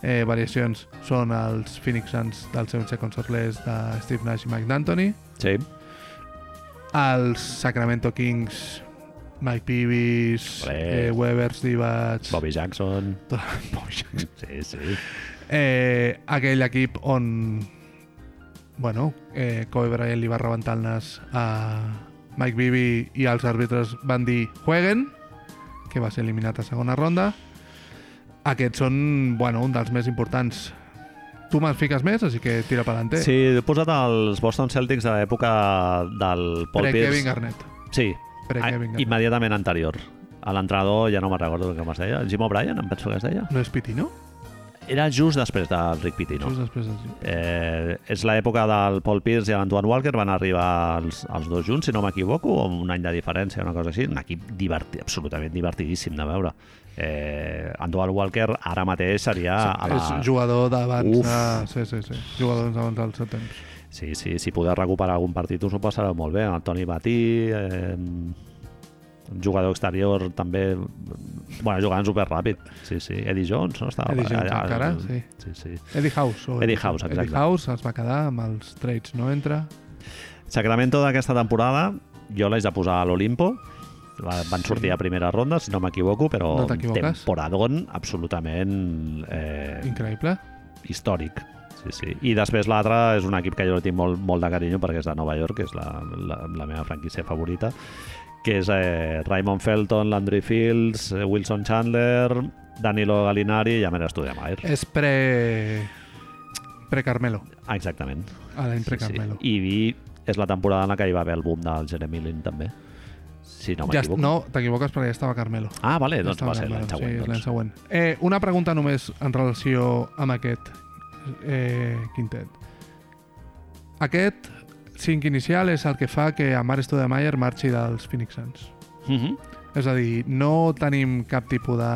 Speaker 2: eh, variacions són els Phoenix Suns del seu Seconds or Less de Steve Nash i Mike D'Antoni
Speaker 1: Sí.
Speaker 2: els Sacramento Kings Mike Peavis,
Speaker 1: Olé.
Speaker 2: eh, Webers, Divats...
Speaker 1: Bobby Jackson.
Speaker 2: tot- (laughs) Bobby Jackson.
Speaker 1: Sí, sí.
Speaker 2: Eh, aquell equip on... Bueno, eh, Kobe Bryant li va rebentar el nas a Mike Bibby i els àrbitres van dir jueguen, que va ser eliminat a segona ronda. Aquests són, bueno, un dels més importants. Tu me'n fiques més, així que tira per
Speaker 1: Sí,
Speaker 2: l'enter.
Speaker 1: he posat els Boston Celtics de l'època del Paul
Speaker 2: Pre-Kevin
Speaker 1: Pierce. Ah,
Speaker 2: Garnett.
Speaker 1: Sí, a,
Speaker 2: Pre-Kevin Garnett.
Speaker 1: immediatament anterior. A l'entrenador ja no me'n recordo com es deia. Jim O'Brien, em penso que es deia.
Speaker 2: No és Pitino?
Speaker 1: Era just després del Rick Pitino.
Speaker 2: Just després de...
Speaker 1: Eh, és l'època del Paul Pierce i l'Antoine Walker, van arribar els, els dos junts, si no m'equivoco, o amb un any de diferència, una cosa així. Un equip divertit, absolutament divertidíssim de veure. Eh, Antoine Walker ara mateix seria... a la...
Speaker 2: És jugador d'abans
Speaker 1: Ah, Uf.
Speaker 2: de... Sí, sí, sí. Jugador d'abans del seu temps.
Speaker 1: Sí, sí, si poder recuperar algun partit us ho passareu molt bé. El Toni Batí, eh, un jugador exterior també... Bueno, jugant superràpid. Sí, sí. Eddie Jones, no? Estava
Speaker 2: Eddie
Speaker 1: per
Speaker 2: Jones encara, sí.
Speaker 1: Sí, sí.
Speaker 2: Eddie House. O
Speaker 1: Eddie House, exacte.
Speaker 2: Eddie House es va quedar amb els trades, no entra.
Speaker 1: Sacramento d'aquesta temporada jo l'haig de posar a l'Olimpo La- van
Speaker 2: Sí.
Speaker 1: sortir a primera ronda, si no m'equivoco, però
Speaker 2: No t'equivoques.
Speaker 1: temporadon absolutament eh,
Speaker 2: Increïble.
Speaker 1: històric. Sí, sí. I després l'altre és un equip que jo li tinc molt, molt de carinyo perquè és de Nova York, que és la, la, la meva franquícia favorita, que és eh, Raymond Felton, Landry Fields, eh, Wilson Chandler, Danilo Gallinari i Amer Estudiamaer.
Speaker 2: És pre... Pre-Carmelo.
Speaker 1: Exactament.
Speaker 2: A l'any pre-Carmelo.
Speaker 1: I vi és la temporada en la que hi va haver el boom del Jeremy Lin, també. Si no
Speaker 2: ja,
Speaker 1: m'equivoco.
Speaker 2: no, t'equivoques perquè ja estava Carmelo.
Speaker 1: Ah, vale,
Speaker 2: Ja
Speaker 1: doncs
Speaker 2: estava
Speaker 1: va ser l'any
Speaker 2: Carmelo,
Speaker 1: següent.
Speaker 2: Sí, és l'any
Speaker 1: doncs.
Speaker 2: següent. Eh, una pregunta només en relació amb aquest eh, quintet. Aquest cinc inicial és el que fa que Amar Stoudemire marxi dels Phoenix Suns.
Speaker 1: Mhm.
Speaker 2: És a dir, no tenim cap tipus de...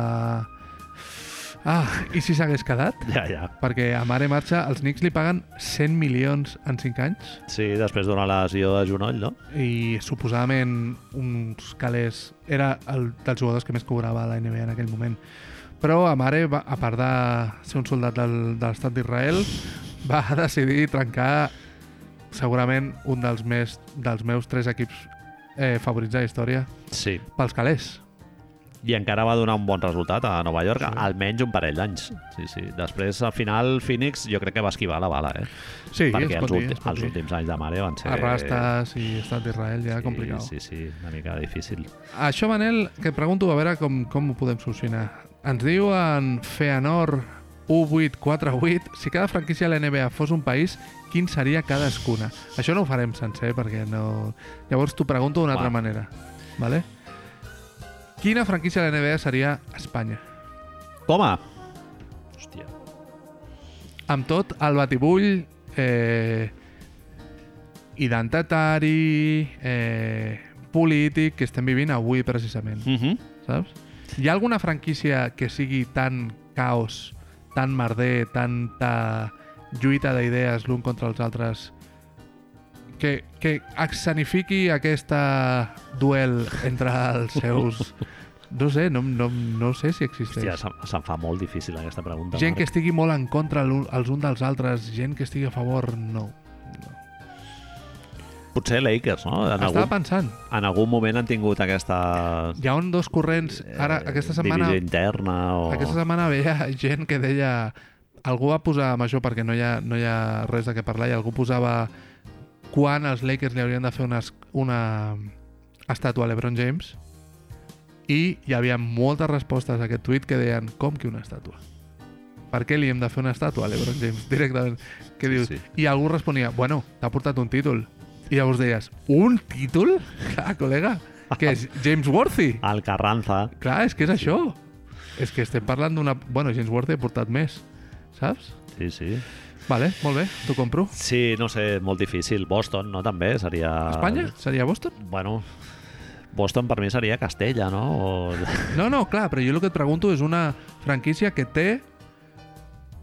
Speaker 2: Ah, i si s'hagués quedat?
Speaker 1: Ja, ja.
Speaker 2: Perquè a Mare Marxa els Knicks li paguen 100 milions en 5 anys
Speaker 1: Sí, després d'una lesió de genoll, no?
Speaker 2: i suposadament uns calés era el dels jugadors que més cobrava la NBA en aquell moment. Però a Mare, va, a part de ser un soldat del, de l'estat d'Israel, va (laughs) decidir trencar segurament un dels, més, dels meus tres equips eh, favorits de la història
Speaker 1: Sí.
Speaker 2: pels calés.
Speaker 1: I encara va donar un bon resultat a Nova York,
Speaker 2: Sí.
Speaker 1: sí. almenys un parell d'anys. Sí, sí. Després, al final, Phoenix jo crec que va esquivar la bala, eh?
Speaker 2: Sí,
Speaker 1: Perquè
Speaker 2: es
Speaker 1: els,
Speaker 2: pot dir,
Speaker 1: últims,
Speaker 2: es pot
Speaker 1: els
Speaker 2: dir.
Speaker 1: últims anys de Mare van ser...
Speaker 2: Arrastres i estat d'Israel ja sí, complicat.
Speaker 1: Sí, sí, sí, una mica difícil.
Speaker 2: Això, Manel, que et pregunto a veure com, com ho podem solucionar. Ens diuen Feanor U848, si cada franquícia de la NBA fos un país, quin seria cadascuna? Això no ho farem sencer, perquè no... Llavors t'ho pregunto d'una
Speaker 1: Va.
Speaker 2: altra manera, vale? Quina franquícia de la NBA seria Espanya?
Speaker 1: Toma! Hòstia.
Speaker 2: Amb tot, el batibull, eh, identitari, eh, polític, que estem vivint avui, precisament.
Speaker 1: Uh -huh.
Speaker 2: saps? Hi ha alguna franquícia que sigui tan caos, tan merder, tanta lluita d'idees l'un contra els altres, que, que escenifiqui aquesta duel entre els seus... No sé, no, no, no sé si existeix.
Speaker 1: Hòstia, se'm, se'm fa molt difícil aquesta pregunta.
Speaker 2: gent que
Speaker 1: Marc.
Speaker 2: estigui molt en contra l'un- els un dels altres, gent que estigui a favor, no.
Speaker 1: Potser Lakers, no? En
Speaker 2: Estava
Speaker 1: algun,
Speaker 2: pensant,
Speaker 1: en algun moment han tingut aquesta...
Speaker 2: hi ha un dos corrents, ara,
Speaker 1: eh,
Speaker 2: aquesta setmana...
Speaker 1: Divisió interna o...
Speaker 2: Aquesta setmana veia gent que deia... Algú va posar amb això perquè no hi ha, no hi ha res de què parlar i algú posava quan els Lakers li haurien de fer una, es- una estàtua a l'Ebron James i hi havia moltes respostes a aquest tuit que deien com que una estàtua? Per què li hem de fer una estàtua a l'Ebron James (laughs) directament? Que
Speaker 1: Sí,
Speaker 2: dius?
Speaker 1: sí.
Speaker 2: I algú responia, bueno, t'ha portat un títol. I llavors deies, un títol? (laughs) Clar, col·lega, que és James Worthy.
Speaker 1: Al Carranza.
Speaker 2: Clar, és que és això. És que estem parlant d'una... Bueno, James Ward he portat més, saps?
Speaker 1: Sí, sí.
Speaker 2: Vale, molt bé, t'ho compro.
Speaker 1: Sí, no sé, molt difícil. Boston, no? També seria...
Speaker 2: Espanya? Seria Boston?
Speaker 1: Bueno, Boston per mi seria Castella, no? O...
Speaker 2: (laughs) No, no, clar, però jo el que et pregunto és una franquícia que té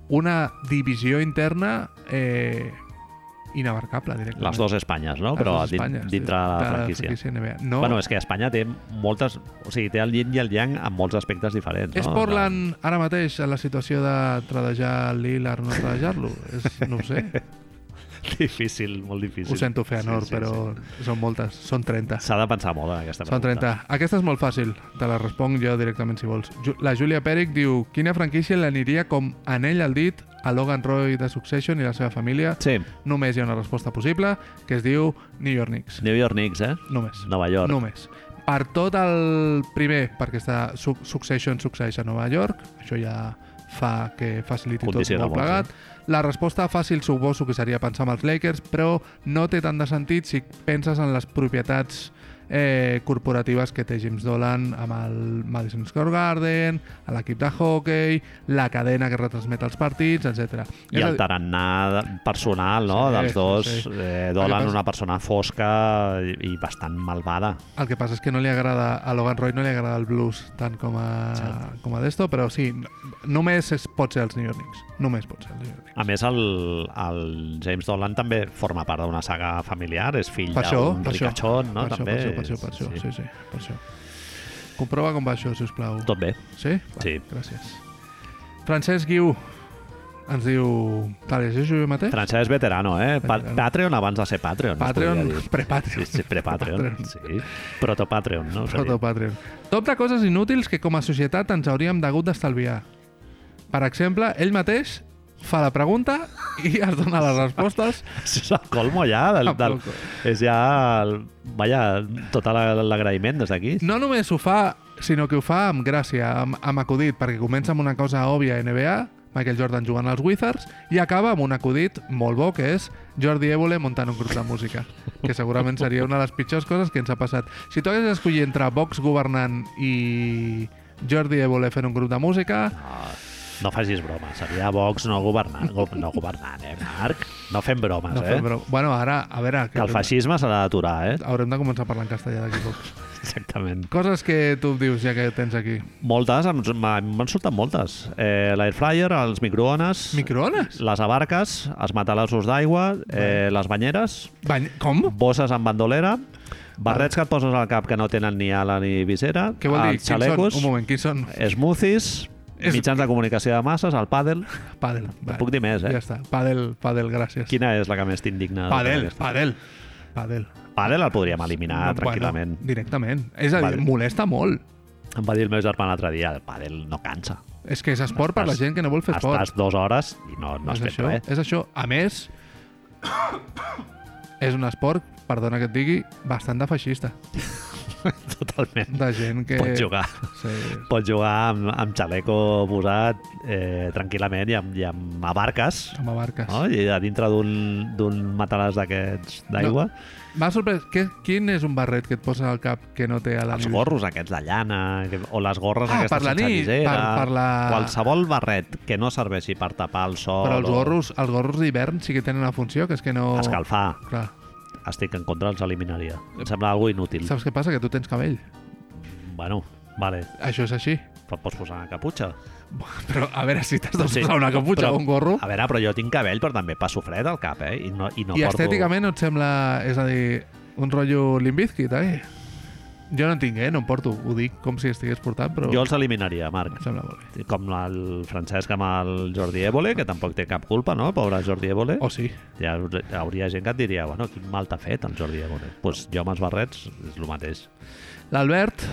Speaker 2: una divisió interna eh, inabarcable, directament.
Speaker 1: Les dues Espanyes, no?
Speaker 2: Les
Speaker 1: Però
Speaker 2: dues
Speaker 1: din-
Speaker 2: Espanyes,
Speaker 1: dintre de la franquícia.
Speaker 2: NBA. No,
Speaker 1: No. Bueno, és que Espanya té moltes... O sigui, té el yin i el yang en molts aspectes diferents, no?
Speaker 2: És Portland ara
Speaker 1: (laughs)
Speaker 2: mateix en la situació de tradejar Lillard o no tradejar-lo? És- No ho sé.
Speaker 1: difícil, molt difícil.
Speaker 2: Ho sento fer honor, sí, sí, però sí. són moltes. Són 30.
Speaker 1: S'ha de pensar molt en aquesta
Speaker 2: Són
Speaker 1: pregunta.
Speaker 2: 30. Aquesta és molt fàcil. Te la responc jo directament, si vols. Ju- La Júlia Pèrec diu Quina franquícia l'aniria com anell al dit a Logan Roy de Succession i la seva família?
Speaker 1: Sí,
Speaker 2: Només hi ha una resposta possible, que es diu New York Knicks.
Speaker 1: New York Knicks, eh?
Speaker 2: Només.
Speaker 1: Nova York.
Speaker 2: Només. Per tot el primer, perquè està su Succession succeeix a Nova York, això ja fa que faciliti tot
Speaker 1: Condiciona
Speaker 2: molt
Speaker 1: molt,
Speaker 2: plegat. La resposta fàcil suposo que seria pensar en els Lakers, però no té tant de sentit si penses en les propietats eh, corporatives que té James Dolan amb el Madison Square Garden, a l'equip de hockey, la cadena que retransmet els partits, etc.
Speaker 1: I el tarannà de- personal, no?,
Speaker 2: Sí,
Speaker 1: dels dos.
Speaker 2: sí, sí.
Speaker 1: Eh,
Speaker 2: El que
Speaker 1: Dolan,
Speaker 2: passa-
Speaker 1: una persona fosca i, i bastant malvada.
Speaker 2: El que passa és que no li agrada, a Logan Roy no li agrada el blues tant com a,
Speaker 1: Cert.
Speaker 2: com a d'esto, però sí, no- només es, pot ser els New York Knicks. Només pot ser els New York Knicks.
Speaker 1: A més, el, el James Dolan també forma part d'una saga familiar, és fill
Speaker 2: Per això,
Speaker 1: d'un
Speaker 2: per això.
Speaker 1: ricachón, no?
Speaker 2: per,
Speaker 1: també.
Speaker 2: això, per això, per això, per això, sí. sí, per això. Comprova com va això, sisplau.
Speaker 1: Tot bé.
Speaker 2: Sí?
Speaker 1: Sí.
Speaker 2: Gràcies. Francesc Guiu ens diu... Te la llegeixo jo mateix?
Speaker 1: Francesc veterano, eh? Pa
Speaker 2: Veterano.
Speaker 1: Patreon abans de ser Patreon. es
Speaker 2: Patreon,
Speaker 1: podria dir.
Speaker 2: (laughs) pre-Patreon.
Speaker 1: Sí, sí, pre-Patreon,
Speaker 2: Pre-Patreon.
Speaker 1: sí. Proto-Patreon, no? Seria.
Speaker 2: Proto Patreon. Top de coses inútils que com a societat ens hauríem degut d'estalviar. Per exemple, ell mateix fa la pregunta i (laughs) es dona les respostes.
Speaker 1: Això (laughs) és el colmo ja. Del, del,
Speaker 2: Tampoco.
Speaker 1: és ja... El, vaja, tot la- l'agraïment des d'aquí.
Speaker 2: No només ho fa, sinó que ho fa amb gràcia, amb, amb acudit, perquè comença amb una cosa òbvia a NBA, Michael Jordan jugant als Wizards, i acaba amb un acudit molt bo, que és Jordi Évole muntant un grup de música, que segurament seria una de les pitjors coses que ens ha passat. Si tu haguessis d'escollir entre Vox governant i Jordi Évole fent un grup de música,
Speaker 1: No, no facis broma. Seria Vox no governant, go, no governant, eh, Marc? No fem bromes,
Speaker 2: No,
Speaker 1: eh?
Speaker 2: fem broma. Bueno, ara, a veure...
Speaker 1: Que el
Speaker 2: haurem-
Speaker 1: feixisme s'ha d'aturar, eh?
Speaker 2: Haurem de començar a parlar en castellà d'aquí a poc.
Speaker 1: Exactament.
Speaker 2: Coses que tu em dius ja que tens aquí.
Speaker 1: Moltes, em- m'ha- m'han sortit moltes. Eh, L'air fryer, els microones,
Speaker 2: Microones?
Speaker 1: les abarques, els matalassos d'aigua, eh, les banyeres,
Speaker 2: Bany... Com?
Speaker 1: bosses amb bandolera, barrets que et poses al cap que no tenen ni ala ni visera,
Speaker 2: Què vol dir?
Speaker 1: els
Speaker 2: Quins són?
Speaker 1: Ah, xalecos, Eh,
Speaker 2: Un moment, quins són?
Speaker 1: smoothies,
Speaker 2: És-
Speaker 1: mitjans de comunicació de masses, el pàdel...
Speaker 2: Padel. Vale.
Speaker 1: puc dir més, eh? Ah,
Speaker 2: Ja està. Padel, padel, gràcies.
Speaker 1: Quina és la que més t'indigna? de
Speaker 2: Padel,
Speaker 1: totes aquestes?
Speaker 2: padel, padel.
Speaker 1: Pàdel el podríem eliminar tranquil·lament.
Speaker 2: Bueno, directament. És a dir,
Speaker 1: Vale.
Speaker 2: molesta molt.
Speaker 1: Em va dir el meu germà l'altre dia, el pàdel no cansa.
Speaker 2: És que és esport per la
Speaker 1: Estàs-
Speaker 2: gent que no vol fer esport.
Speaker 1: Estàs dues hores i no, no has
Speaker 2: és
Speaker 1: fet
Speaker 2: això,
Speaker 1: res. (laughs)
Speaker 2: és això. A més, (coughs) és un esport, perdona que et digui, bastant de feixista.
Speaker 1: Totalment.
Speaker 2: De gent que...
Speaker 1: Pots jugar.
Speaker 2: Sí,
Speaker 1: Pots jugar amb, amb xaleco posat eh, tranquil·lament i amb, i amb abarques,
Speaker 2: amb abarques.
Speaker 1: no? i a dintre d'un d'un matalàs d'aquests d'aigua,
Speaker 2: M'ha sorprès. Que, quin és un barret que et posa al cap que no té a la
Speaker 1: els
Speaker 2: nit?
Speaker 1: gorros aquests de llana, que, o les gorres
Speaker 2: Ah,
Speaker 1: aquestes
Speaker 2: per la
Speaker 1: sense
Speaker 2: nit,
Speaker 1: visera,
Speaker 2: per- per la-
Speaker 1: qualsevol barret que no serveixi per tapar el sol
Speaker 2: Però els
Speaker 1: o
Speaker 2: gorros, els gorros d'hivern sí que tenen una funció, que és que no...
Speaker 1: escalfar,
Speaker 2: Clar.
Speaker 1: estic en contra, els eliminaria. Em sembla algo inútil.
Speaker 2: Saps què passa? Que tu tens cabell.
Speaker 1: Bueno, vale,
Speaker 2: Això és així. (laughs)
Speaker 1: però et pots posar una caputxa.
Speaker 2: Però a veure si t'has de
Speaker 1: Sí,
Speaker 2: posar una caputxa
Speaker 1: però-
Speaker 2: o un gorro.
Speaker 1: A veure, però jo tinc cabell, però també passo fred al cap, eh? I no, i no
Speaker 2: I
Speaker 1: porto...
Speaker 2: estèticament no et sembla... És a dir, un rotllo limbizkit, eh? Jo no en tinc, eh? No em porto. Ho dic com si estigués portant, però...
Speaker 1: Jo els eliminaria, Marc.
Speaker 2: Em sembla molt bé.
Speaker 1: Com el Francesc amb el Jordi Évole, que tampoc té cap culpa, no? Pobre Jordi Évole.
Speaker 2: O sí.
Speaker 1: Hi haur- hi hauria gent que et diria, bueno, quin mal t'ha fet el Jordi Évole. Doncs pues jo amb els barrets és el mateix.
Speaker 2: L'Albert,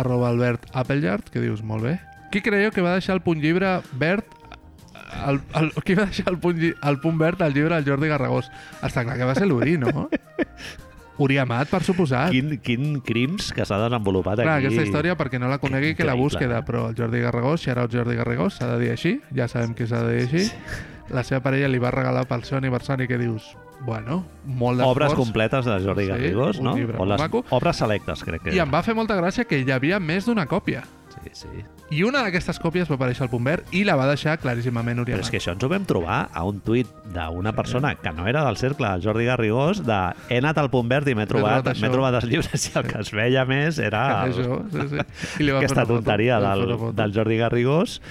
Speaker 2: arroba Albert Appleyard, que dius molt bé. Qui creieu que va deixar el punt llibre verd el, el, qui va deixar el punt, lli- el punt verd al llibre al Jordi Garragós? Està clar que va ser l'Uri, no? Uri Amat, per suposat.
Speaker 1: Quin, quin crims que s'ha desenvolupat
Speaker 2: Ah. Clar,
Speaker 1: aquí.
Speaker 2: aquesta història, perquè no la conegui, que la
Speaker 1: increïble.
Speaker 2: busqui, però el Jordi Garrigós, si ara el Jordi Garrigós, s'ha de dir així, ja sabem que s'ha de dir així, la seva parella li va regalar pel seu aniversari que dius, bueno, molt
Speaker 1: Obres
Speaker 2: d'esforç.
Speaker 1: completes de Jordi
Speaker 2: Sí,
Speaker 1: Garrigós,
Speaker 2: un
Speaker 1: no?
Speaker 2: llibre
Speaker 1: O
Speaker 2: molt
Speaker 1: les
Speaker 2: maco.
Speaker 1: obres selectes, crec que.
Speaker 2: I em va fer molta gràcia que hi havia més d'una còpia.
Speaker 1: Sí, sí.
Speaker 2: I una d'aquestes còpies va aparèixer al punt verd i la va deixar claríssimament Uri
Speaker 1: Però és
Speaker 2: Amat.
Speaker 1: que això ens ho vam trobar a un tuit d'una persona que no era del cercle, el Jordi Garrigós, de he anat al punt verd i m'he
Speaker 2: trobat
Speaker 1: trobat, m'he
Speaker 2: això."
Speaker 1: trobat els llibres i el que es veia més era el-
Speaker 2: Això, sí, sí. I li va fer
Speaker 1: aquesta
Speaker 2: una foto,
Speaker 1: tonteria
Speaker 2: li va fer
Speaker 1: del,
Speaker 2: una foto.
Speaker 1: del Jordi Garrigós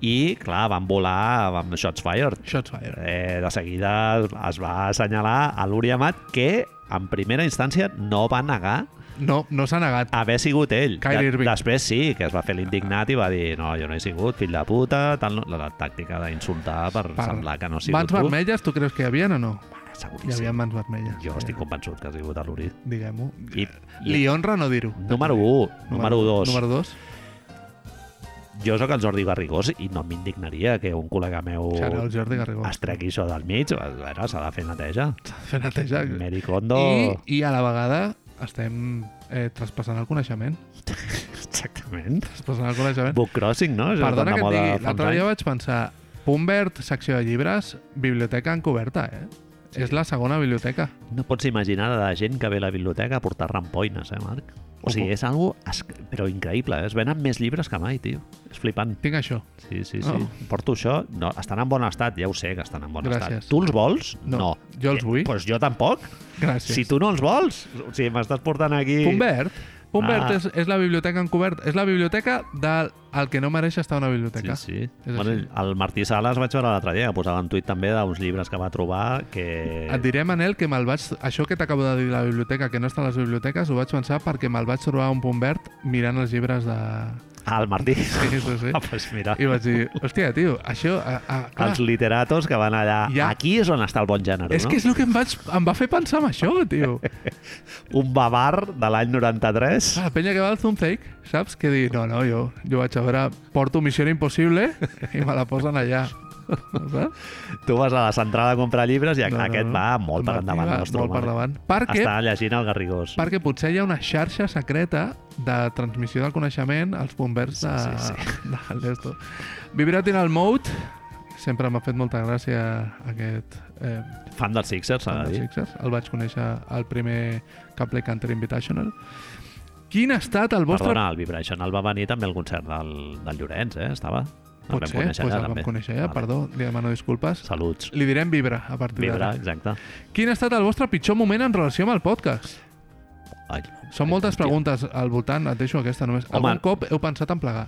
Speaker 1: i, clar, van volar amb Shots Fired.
Speaker 2: Shots fired.
Speaker 1: Eh, de seguida es va assenyalar a l'Uri Amat que en primera instància no va negar
Speaker 2: No, no s'ha negat.
Speaker 1: haver sigut ell.
Speaker 2: Kyrie
Speaker 1: De-
Speaker 2: Irving.
Speaker 1: Després sí, que es va fer l'indignat i va dir no, jo no he sigut, fill de puta, tal, no- la, la tàctica d'insultar per,
Speaker 2: Per-
Speaker 1: semblar que no ha sigut
Speaker 2: Mans
Speaker 1: tu. Ah,
Speaker 2: vermelles, tu creus que hi havia o no? Hi havia
Speaker 1: seguríssim.
Speaker 2: mans vermelles.
Speaker 1: Jo estic convençut que has vingut a l'Uri.
Speaker 2: Diguem-ho.
Speaker 1: I, i
Speaker 2: Li honra no dir-ho.
Speaker 1: número 1, número 2.
Speaker 2: Número 2.
Speaker 1: Jo sóc el Jordi Garrigós i no m'indignaria que un col·lega meu
Speaker 2: Xarau Jordi Garrigó. (laughs)
Speaker 1: es tregui això del mig. A veure, s'ha de fer neteja.
Speaker 2: Fer neteja.
Speaker 1: Mary Kondo...
Speaker 2: I, I a la vegada estem eh, traspassant el coneixement.
Speaker 1: Exactament.
Speaker 2: Traspassant el coneixement.
Speaker 1: Book Crossing, no? Això
Speaker 2: Perdona
Speaker 1: tan
Speaker 2: que
Speaker 1: de
Speaker 2: et
Speaker 1: moda
Speaker 2: digui,
Speaker 1: fa uns
Speaker 2: l'altre dia
Speaker 1: anys.
Speaker 2: vaig pensar, punt verd, secció de llibres, biblioteca encoberta, eh?
Speaker 1: Sí.
Speaker 2: És la segona biblioteca.
Speaker 1: No pots imaginar la gent que ve a la biblioteca a portar rampoines, eh, Marc? O sigui, és algo es... però increïble. eh? Es venen més llibres que mai, tio. És flipant.
Speaker 2: Tinc això.
Speaker 1: Sí, sí, sí.
Speaker 2: Oh.
Speaker 1: Porto això. No, estan en bon estat, ja ho sé que estan en bon
Speaker 2: Gràcies.
Speaker 1: estat. Tu els vols?
Speaker 2: No,
Speaker 1: no.
Speaker 2: jo els vull.
Speaker 1: Doncs pues jo tampoc.
Speaker 2: Gràcies.
Speaker 1: Si tu no els vols, o sigui, m'estàs portant aquí...
Speaker 2: Punt verd. Punt
Speaker 1: Ah.
Speaker 2: verd és, és la biblioteca encoberta. És la biblioteca del el que no mereix estar a una biblioteca.
Speaker 1: Sí, sí.
Speaker 2: És
Speaker 1: Bueno,
Speaker 2: així.
Speaker 1: el Martí Sales vaig veure l'altre dia, que posava un tuit també d'uns llibres que va trobar que...
Speaker 2: Et diré, Manel, que me'l vaig... Això que t'acabo de dir de la biblioteca, que no està a les biblioteques, ho vaig pensar perquè me'l vaig trobar a un punt verd mirant els llibres de...
Speaker 1: Ah, el Martí.
Speaker 2: Sí, sí, sí.
Speaker 1: (laughs) Ah, pues mira,
Speaker 2: I vaig dir, hòstia, tio, això... A, a, clar,
Speaker 1: els literatos que van allà...
Speaker 2: Ja.
Speaker 1: Aquí és on està el bon gènere,
Speaker 2: és
Speaker 1: no?
Speaker 2: que és el que em, vaig, em va fer pensar en això, tio.
Speaker 1: Un bavar de l'any 93.
Speaker 2: A la penya que va al Zumzeik, saps? Que dir, no, no, jo, jo vaig a veure, porto Missió Impossible i me la posen allà. Saps?
Speaker 1: Tu vas a la central a comprar llibres i aquest va molt
Speaker 2: El
Speaker 1: per
Speaker 2: Martí
Speaker 1: endavant.
Speaker 2: va
Speaker 1: nostre
Speaker 2: Molt per
Speaker 1: home. eh?
Speaker 2: davant. Perquè,
Speaker 1: Està llegint el Garrigós.
Speaker 2: perquè potser hi ha una xarxa secreta de transmissió del coneixement als bombers de,
Speaker 1: Sí,
Speaker 2: sí, sí. (laughs) de l'Esto. Vibratinal Mode, sempre m'ha fet molta gràcia aquest eh,
Speaker 1: Fan dels Sixers, s'ha
Speaker 2: Fan
Speaker 1: de
Speaker 2: dels
Speaker 1: dir.
Speaker 2: Sixers. El vaig conèixer al primer Caple Canter Invitational. Quin ha estat el vostre...
Speaker 1: Perdona, el Vibrational va venir també al concert del, del Llorenç, eh? Estava. El
Speaker 2: Pot
Speaker 1: vam
Speaker 2: ser,
Speaker 1: conèixer
Speaker 2: pues el
Speaker 1: allà,
Speaker 2: vam
Speaker 1: també.
Speaker 2: conèixer ja,
Speaker 1: Vale.
Speaker 2: perdó, li demano disculpes.
Speaker 1: Saluts.
Speaker 2: Li direm vibra a partir
Speaker 1: Vibra,
Speaker 2: d'ara.
Speaker 1: exacte.
Speaker 2: Quin ha estat el vostre pitjor moment en relació amb el podcast?
Speaker 1: Ai,
Speaker 2: Són moltes preguntes al voltant, et deixo aquesta només.
Speaker 1: Home.
Speaker 2: Algun cop heu pensat en plegar?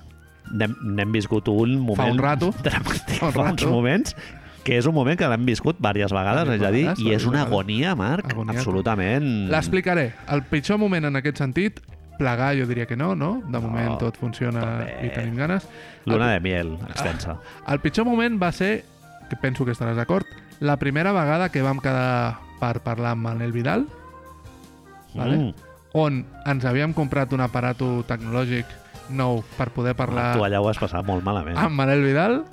Speaker 1: N'hem n'hem viscut un moment... (laughs)
Speaker 2: un rato.
Speaker 1: Dramàtic,
Speaker 2: Fa un
Speaker 1: fa uns
Speaker 2: rato.
Speaker 1: moments que és un moment que l'hem viscut diverses vegades, és
Speaker 2: Vàries
Speaker 1: a dir,
Speaker 2: vegades,
Speaker 1: i és
Speaker 2: vàries
Speaker 1: una
Speaker 2: vegades.
Speaker 1: agonia, Marc,
Speaker 2: Agonia.
Speaker 1: absolutament...
Speaker 2: L'explicaré. El pitjor moment en aquest sentit, plegar jo diria que no, no? De moment tot funciona
Speaker 1: tot bé.
Speaker 2: i tenim ganes.
Speaker 1: Luna de miel, extensa.
Speaker 2: El pitjor moment va ser, que penso que estaràs d'acord, la primera vegada que vam quedar per parlar amb Manel Vidal, vale?
Speaker 1: Mm.
Speaker 2: on ens havíem comprat un aparato tecnològic nou per poder parlar
Speaker 1: Tu allà ho has passat molt malament.
Speaker 2: amb Manel Vidal.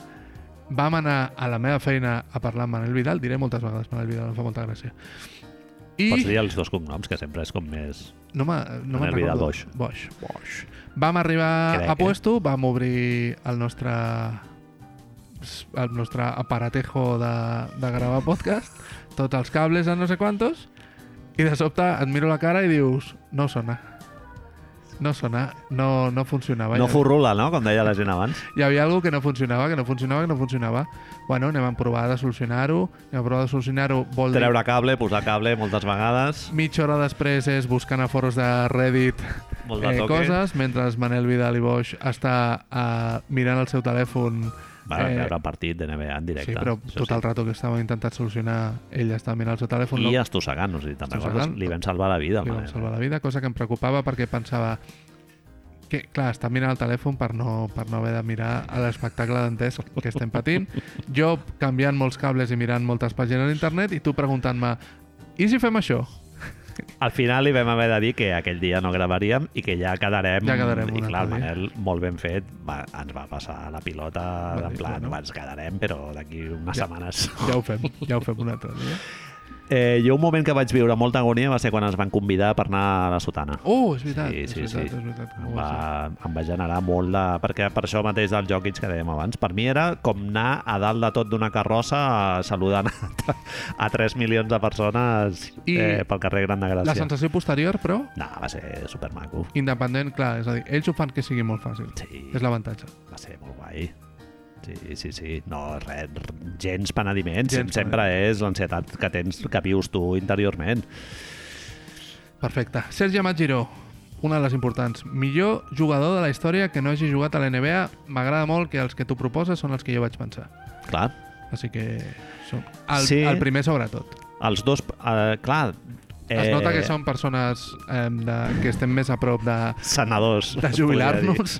Speaker 2: Vam anar a la meva feina a parlar amb Manel Vidal, diré moltes vegades Manel Vidal, em fa molta gràcia.
Speaker 1: Pots
Speaker 2: I
Speaker 1: dir els dos cognoms, que sempre és com més...
Speaker 2: no me'n no me'n
Speaker 1: Manel Vidal
Speaker 2: recordo.
Speaker 1: Boix.
Speaker 2: Boix. Boix. Vam arribar
Speaker 1: Crec,
Speaker 2: a
Speaker 1: eh?
Speaker 2: puesto, vam obrir el nostre el nostre aparatejo de, de gravar podcast, tots els cables a no sé quantos, i de sobte et miro la cara i dius, no sona. No sona, no, no funcionava.
Speaker 1: No
Speaker 2: Ja-
Speaker 1: furrula, no?, com deia la gent abans.
Speaker 2: hi havia alguna que no funcionava, que no funcionava, que no funcionava. Bueno, anem a provar de solucionar-ho. Anem a provar de solucionar-ho. Vol dir...
Speaker 1: Treure cable, posar cable moltes vegades,
Speaker 2: Mitja hora després és buscant a foros de Reddit
Speaker 1: molt de
Speaker 2: eh,
Speaker 1: toque.
Speaker 2: coses, mentre Manel Vidal i Boix està eh, mirant el seu telèfon.
Speaker 1: Va
Speaker 2: eh,
Speaker 1: veure partit de NBA en directe.
Speaker 2: sí, però
Speaker 1: això
Speaker 2: tot el rato que estava intentant solucionar, ell està mirant el seu telèfon.
Speaker 1: I
Speaker 2: no,
Speaker 1: estossegant, no sé si te'n
Speaker 2: Estossegant.
Speaker 1: recordes, li vam salvar la vida.
Speaker 2: li
Speaker 1: home.
Speaker 2: vam salvar la vida, cosa que em preocupava perquè pensava que, clar, està mirant el telèfon per no, per no haver de mirar a l'espectacle d'entès que estem patint. Jo canviant molts cables i mirant moltes pàgines d'internet i tu preguntant-me i si fem això?
Speaker 1: Al final li vam haver de dir que aquell dia no gravaríem i que ja quedarem.
Speaker 2: Ja quedarem
Speaker 1: I
Speaker 2: un
Speaker 1: clar, el
Speaker 2: altre dia.
Speaker 1: Manel, molt ben fet, va, ens va passar la pilota
Speaker 2: Va
Speaker 1: va en
Speaker 2: dir,
Speaker 1: plan,
Speaker 2: bueno.
Speaker 1: bueno. ens quedarem, però d'aquí unes ja.
Speaker 2: Ja.
Speaker 1: setmanes.
Speaker 2: (laughs) Ja ho fem, ja ho fem un altre dia.
Speaker 1: Eh, jo un moment que vaig viure molta agonia va ser quan ens van convidar per anar a la sotana.
Speaker 2: Oh, és veritat,
Speaker 1: Sí,
Speaker 2: és
Speaker 1: sí,
Speaker 2: veritat,
Speaker 1: sí.
Speaker 2: és veritat.
Speaker 1: Em
Speaker 2: Oh,
Speaker 1: va, em va generar molt de... Perquè per això mateix del Jokic que dèiem abans, per mi era com anar a dalt de tot d'una carrossa eh, saludant a, (laughs) a 3 milions de persones
Speaker 2: I
Speaker 1: eh, pel carrer Gran de
Speaker 2: sí. La
Speaker 1: Gràcia.
Speaker 2: sensació posterior, però,
Speaker 1: No, va ser supermaco.
Speaker 2: independent, clar, és a dir, ells ho fan que sigui molt fàcil.
Speaker 1: Sí.
Speaker 2: És l'avantatge.
Speaker 1: Va ser molt guai. Sí, sí, sí. No, res, gens penediments.
Speaker 2: Gens
Speaker 1: Gens Sempre és l'ansietat que tens, que vius tu interiorment.
Speaker 2: Perfecte. Sergi Amat Giró, una de les importants. Millor jugador de la història que no hagi jugat a la NBA. M'agrada molt que els que tu proposes són els que jo vaig pensar.
Speaker 1: Clar,
Speaker 2: Així que... Som... El, sí.
Speaker 1: Sí.
Speaker 2: el primer sobretot.
Speaker 1: els dos... Eh, clar,
Speaker 2: Eh... Es nota que són persones eh, de, que estem més a prop de,
Speaker 1: senadors.
Speaker 2: de
Speaker 1: podria dir.
Speaker 2: jubilar-nos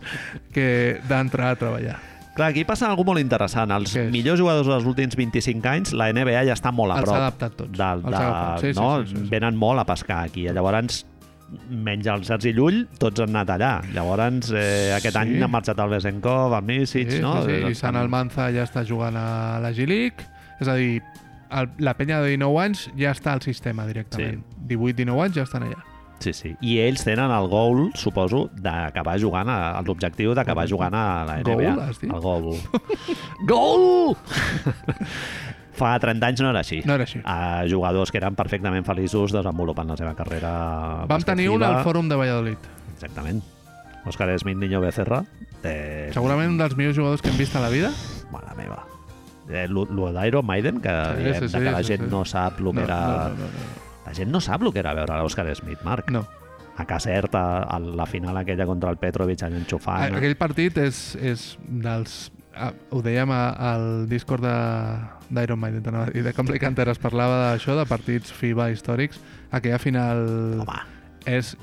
Speaker 2: que d'entrar a treballar.
Speaker 1: Clar, aquí passa alguna molt interessant. Els
Speaker 2: Què és?
Speaker 1: millors jugadors dels últims 25 anys, la NBA ja està molt a
Speaker 2: Els
Speaker 1: prop.
Speaker 2: ha adaptat tots.
Speaker 1: Del,
Speaker 2: Els
Speaker 1: de,
Speaker 2: ha adaptat. Sí, sí,
Speaker 1: no?
Speaker 2: sí, sí, sí.
Speaker 1: Venen molt a pescar aquí. eh? Llavors, menys el Sergi Llull, tots han anat allà. Llavors, eh, aquest
Speaker 2: Sí.
Speaker 1: any han marxat el Besenkov, el Misic,
Speaker 2: sí,
Speaker 1: no?
Speaker 2: sí, sí. I Sant Almanza ja està jugant a la G-League. És a dir, el, la penya de 19 anys ja està al sistema directament. 18-19 anys ja estan allà.
Speaker 1: Sí, sí. I ells tenen el goal, suposo, d'acabar jugant, a l'objectiu d'acabar jugant a la NBA.
Speaker 2: Goal, has dit?
Speaker 1: El goal.
Speaker 2: (laughs)
Speaker 1: goal! Fa 30 anys no era així.
Speaker 2: No era així.
Speaker 1: A jugadors que eren perfectament feliços desenvolupant la seva carrera
Speaker 2: Vam tenir un al Fòrum de Valladolid.
Speaker 1: Exactament. Òscar Smith Niño Becerra. Eh,
Speaker 2: Segurament un dels millors jugadors que hem vist a la vida.
Speaker 1: Mare meva. Eh, lo, lo d'Iron Maiden, que,
Speaker 2: Sí,
Speaker 1: diem,
Speaker 2: sí, sí,
Speaker 1: de que la
Speaker 2: sí,
Speaker 1: gent
Speaker 2: sí.
Speaker 1: no sap lo que
Speaker 2: no,
Speaker 1: era...
Speaker 2: no, no, no,
Speaker 1: La gent no sap el que era veure l'Òscar Smith, Marc.
Speaker 2: no. no.
Speaker 1: A Caserta, a la final aquella contra el Petrovic, allà
Speaker 2: A-
Speaker 1: enxufant.
Speaker 2: Ah, Aquell partit és, és dels... ah, Ho dèiem a- al Discord de- d'Iron Maiden, t'anava a dir, de Complay Canter, es parlava d'això, de partits FIBA històrics. Aquella final
Speaker 1: Home,
Speaker 2: és...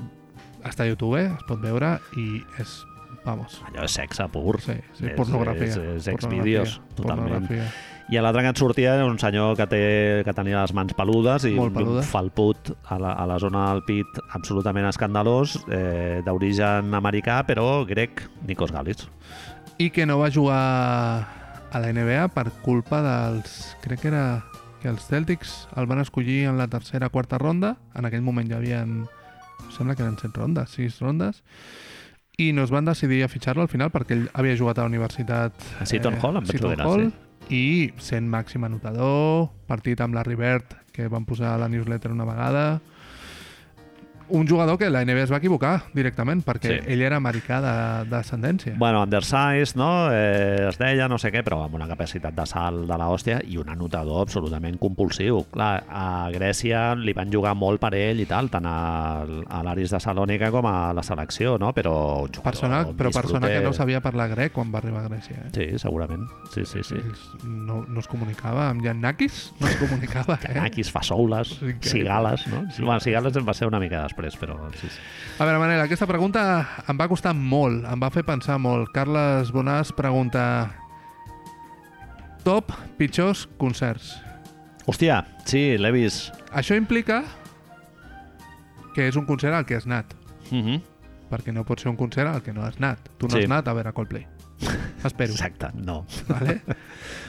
Speaker 2: Està a YouTube, es pot veure, i és... Vamos.
Speaker 1: allò és sexe pur.
Speaker 2: Sí, sí,
Speaker 1: És-
Speaker 2: pornografia.
Speaker 1: és- és
Speaker 2: pornografia,
Speaker 1: exvídeos, totalment.
Speaker 2: pornografia.
Speaker 1: I a l'altre que et sortia era un senyor que, té, que tenia les mans peludes i
Speaker 2: Molt peludes.
Speaker 1: un felput a la, a la zona del pit absolutament escandalós, eh, d'origen americà, però grec, Nikos Galis.
Speaker 2: I que no va jugar a la NBA per culpa dels... Crec que era que els Celtics el van escollir en la tercera quarta ronda. En aquell moment ja havien... em Sembla que eren set rondes, sis rondes. I no es van decidir a fitxar-lo al final perquè ell havia jugat a la universitat... eh,
Speaker 1: A Seton Hall, em vaig
Speaker 2: Seton
Speaker 1: adonar,
Speaker 2: Hall,
Speaker 1: sí.
Speaker 2: I sent màxim anotador, partit amb la Rivert, que van posar a la newsletter una vegada... Un jugador que la NBA es va equivocar directament perquè
Speaker 1: Sí.
Speaker 2: ell era americà de- d'ascendència.
Speaker 1: Bueno, undersize, no? Eh, es deia, no sé què, però amb una capacitat de salt de l'hòstia i un anotador absolutament compulsiu. Clar, a Grècia li van jugar molt per ell i tal, tant a, a l'Aris de Salònica com a la selecció, no? Però un jugador...
Speaker 2: Persona, però persona que no
Speaker 1: disfruter.
Speaker 2: sabia parlar grec quan va arribar a Grècia. Eh?
Speaker 1: Sí, segurament. Sí, sí, sí.
Speaker 2: Ells No, no es comunicava amb Giannakis, no es comunicava. Eh?
Speaker 1: Yanakis, Fasoules,
Speaker 2: Sí, que-
Speaker 1: Cigales, no? Sí, bueno, Cigales en va ser una mica després, però... Sí, sí.
Speaker 2: A veure, Manel, aquesta pregunta em va costar molt, em va fer pensar molt. Carles Bonàs pregunta... Top pitjors concerts.
Speaker 1: Hòstia, sí, l'he vist.
Speaker 2: Això implica que és un concert al que has anat,
Speaker 1: Mm
Speaker 2: Mhm.
Speaker 1: -hmm.
Speaker 2: perquè no pot ser un concert al que no has anat. Tu no
Speaker 1: Sí.
Speaker 2: has anat a
Speaker 1: (laughs)
Speaker 2: veure Coldplay. Espero,
Speaker 1: Exacte, no.
Speaker 2: vale?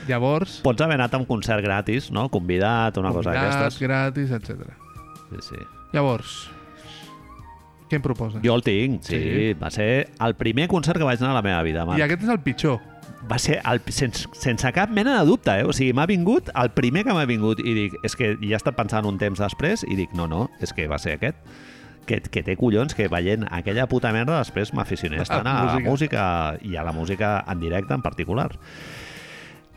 Speaker 2: Llavors,
Speaker 1: Pots haver anat a un concert gratis, no? Convidat, una cosa
Speaker 2: convidats,
Speaker 1: d'aquestes.
Speaker 2: gratis, etc.
Speaker 1: Sí, sí.
Speaker 2: Llavors, què em proposes?
Speaker 1: Jo el tinc, sí.
Speaker 2: Sí.
Speaker 1: sí. Va ser el primer concert que vaig anar a la meva vida, Marc.
Speaker 2: I aquest és el pitjor.
Speaker 1: va ser el, sense, sense cap mena de dubte, eh? O sigui, m'ha vingut el primer que m'ha vingut i dic, és que ja he estat pensant un temps després i dic, no, no, és que va ser aquest. Que, que té collons que veient aquella puta merda després m'aficionés tant a la música i a la música en directe en particular.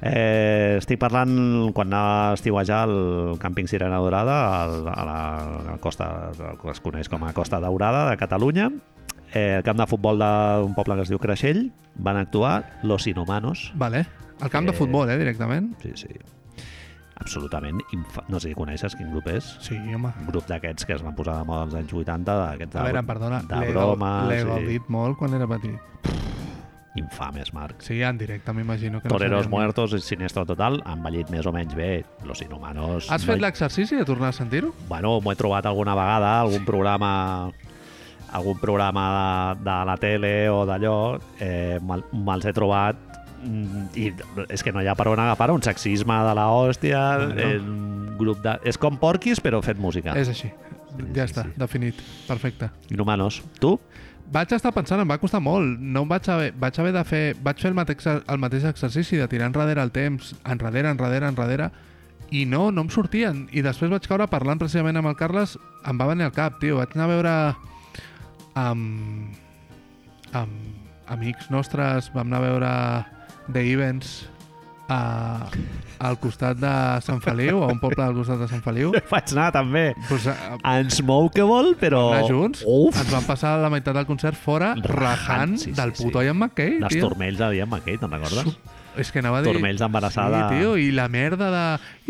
Speaker 1: Eh, estic parlant quan anava a estiuejar al càmping Sirena Dorada al, a la, a la costa el que es coneix com a Costa Daurada de Catalunya eh, el camp de futbol d'un poble que es diu Creixell van actuar Los Inhumanos
Speaker 2: Vale. El camp
Speaker 1: Eh,
Speaker 2: de futbol, eh, directament.
Speaker 1: sí, sí absolutament, infa... no sé si coneixes quin grup és
Speaker 2: Sí, home.
Speaker 1: un grup d'aquests que es van posar de moda als anys 80 d'aquests
Speaker 2: A
Speaker 1: de,
Speaker 2: veure, perdona,
Speaker 1: de
Speaker 2: l'he
Speaker 1: bromes
Speaker 2: l'he
Speaker 1: i...
Speaker 2: gaudit molt quan era petit.
Speaker 1: infames, Marc
Speaker 2: Sí, en directe m'imagino que
Speaker 1: Toreros
Speaker 2: no sabia.
Speaker 1: Muertos i Sinestro Total han ballit més o menys bé Los Inhumanos
Speaker 2: Has
Speaker 1: no
Speaker 2: fet
Speaker 1: hi-
Speaker 2: l'exercici de tornar a sentir-ho?
Speaker 1: bueno, m'ho he trobat alguna vegada, algun sí. programa algun programa de, de la tele o d'allò, eh, me'l- me'ls he trobat mm, i és que no hi ha per on agafar un sexisme de la hòstia,
Speaker 2: Bueno.
Speaker 1: eh, un grup de... És com porquis, però fet música.
Speaker 2: És així. ja
Speaker 1: sí,
Speaker 2: està,
Speaker 1: sí.
Speaker 2: definit. Perfecte.
Speaker 1: Inhumanos. Tu? (laughs)
Speaker 2: Vaig estar pensant, em va costar molt. No em vaig haver, vaig haver de fer... Vaig fer el mateix, el mateix exercici de tirar enrere el temps, enrere, enrere, enrere, i no, no em sortien. I després vaig caure parlant precisament amb el Carles, em va venir al cap, tio. Vaig anar a veure amb, amb amics nostres, vam anar a veure The Events a, al costat de Sant Feliu, a un poble al costat de Sant Feliu.
Speaker 1: Vaig anar també.
Speaker 2: Pues, eh, a,
Speaker 1: Unsmokable, però...
Speaker 2: anar junts,
Speaker 1: Oh, Uf!
Speaker 2: ens van passar la meitat del concert fora
Speaker 1: Rajant,
Speaker 2: rajant
Speaker 1: sí, sí,
Speaker 2: del
Speaker 1: sí.
Speaker 2: puto Ian McKay,
Speaker 1: Les
Speaker 2: tio.
Speaker 1: turmells de Diane McKay, te'n recordes?
Speaker 2: Su- És que anava a dir...
Speaker 1: Turmells d'embarassada.
Speaker 2: Sí, tio, i la merda de...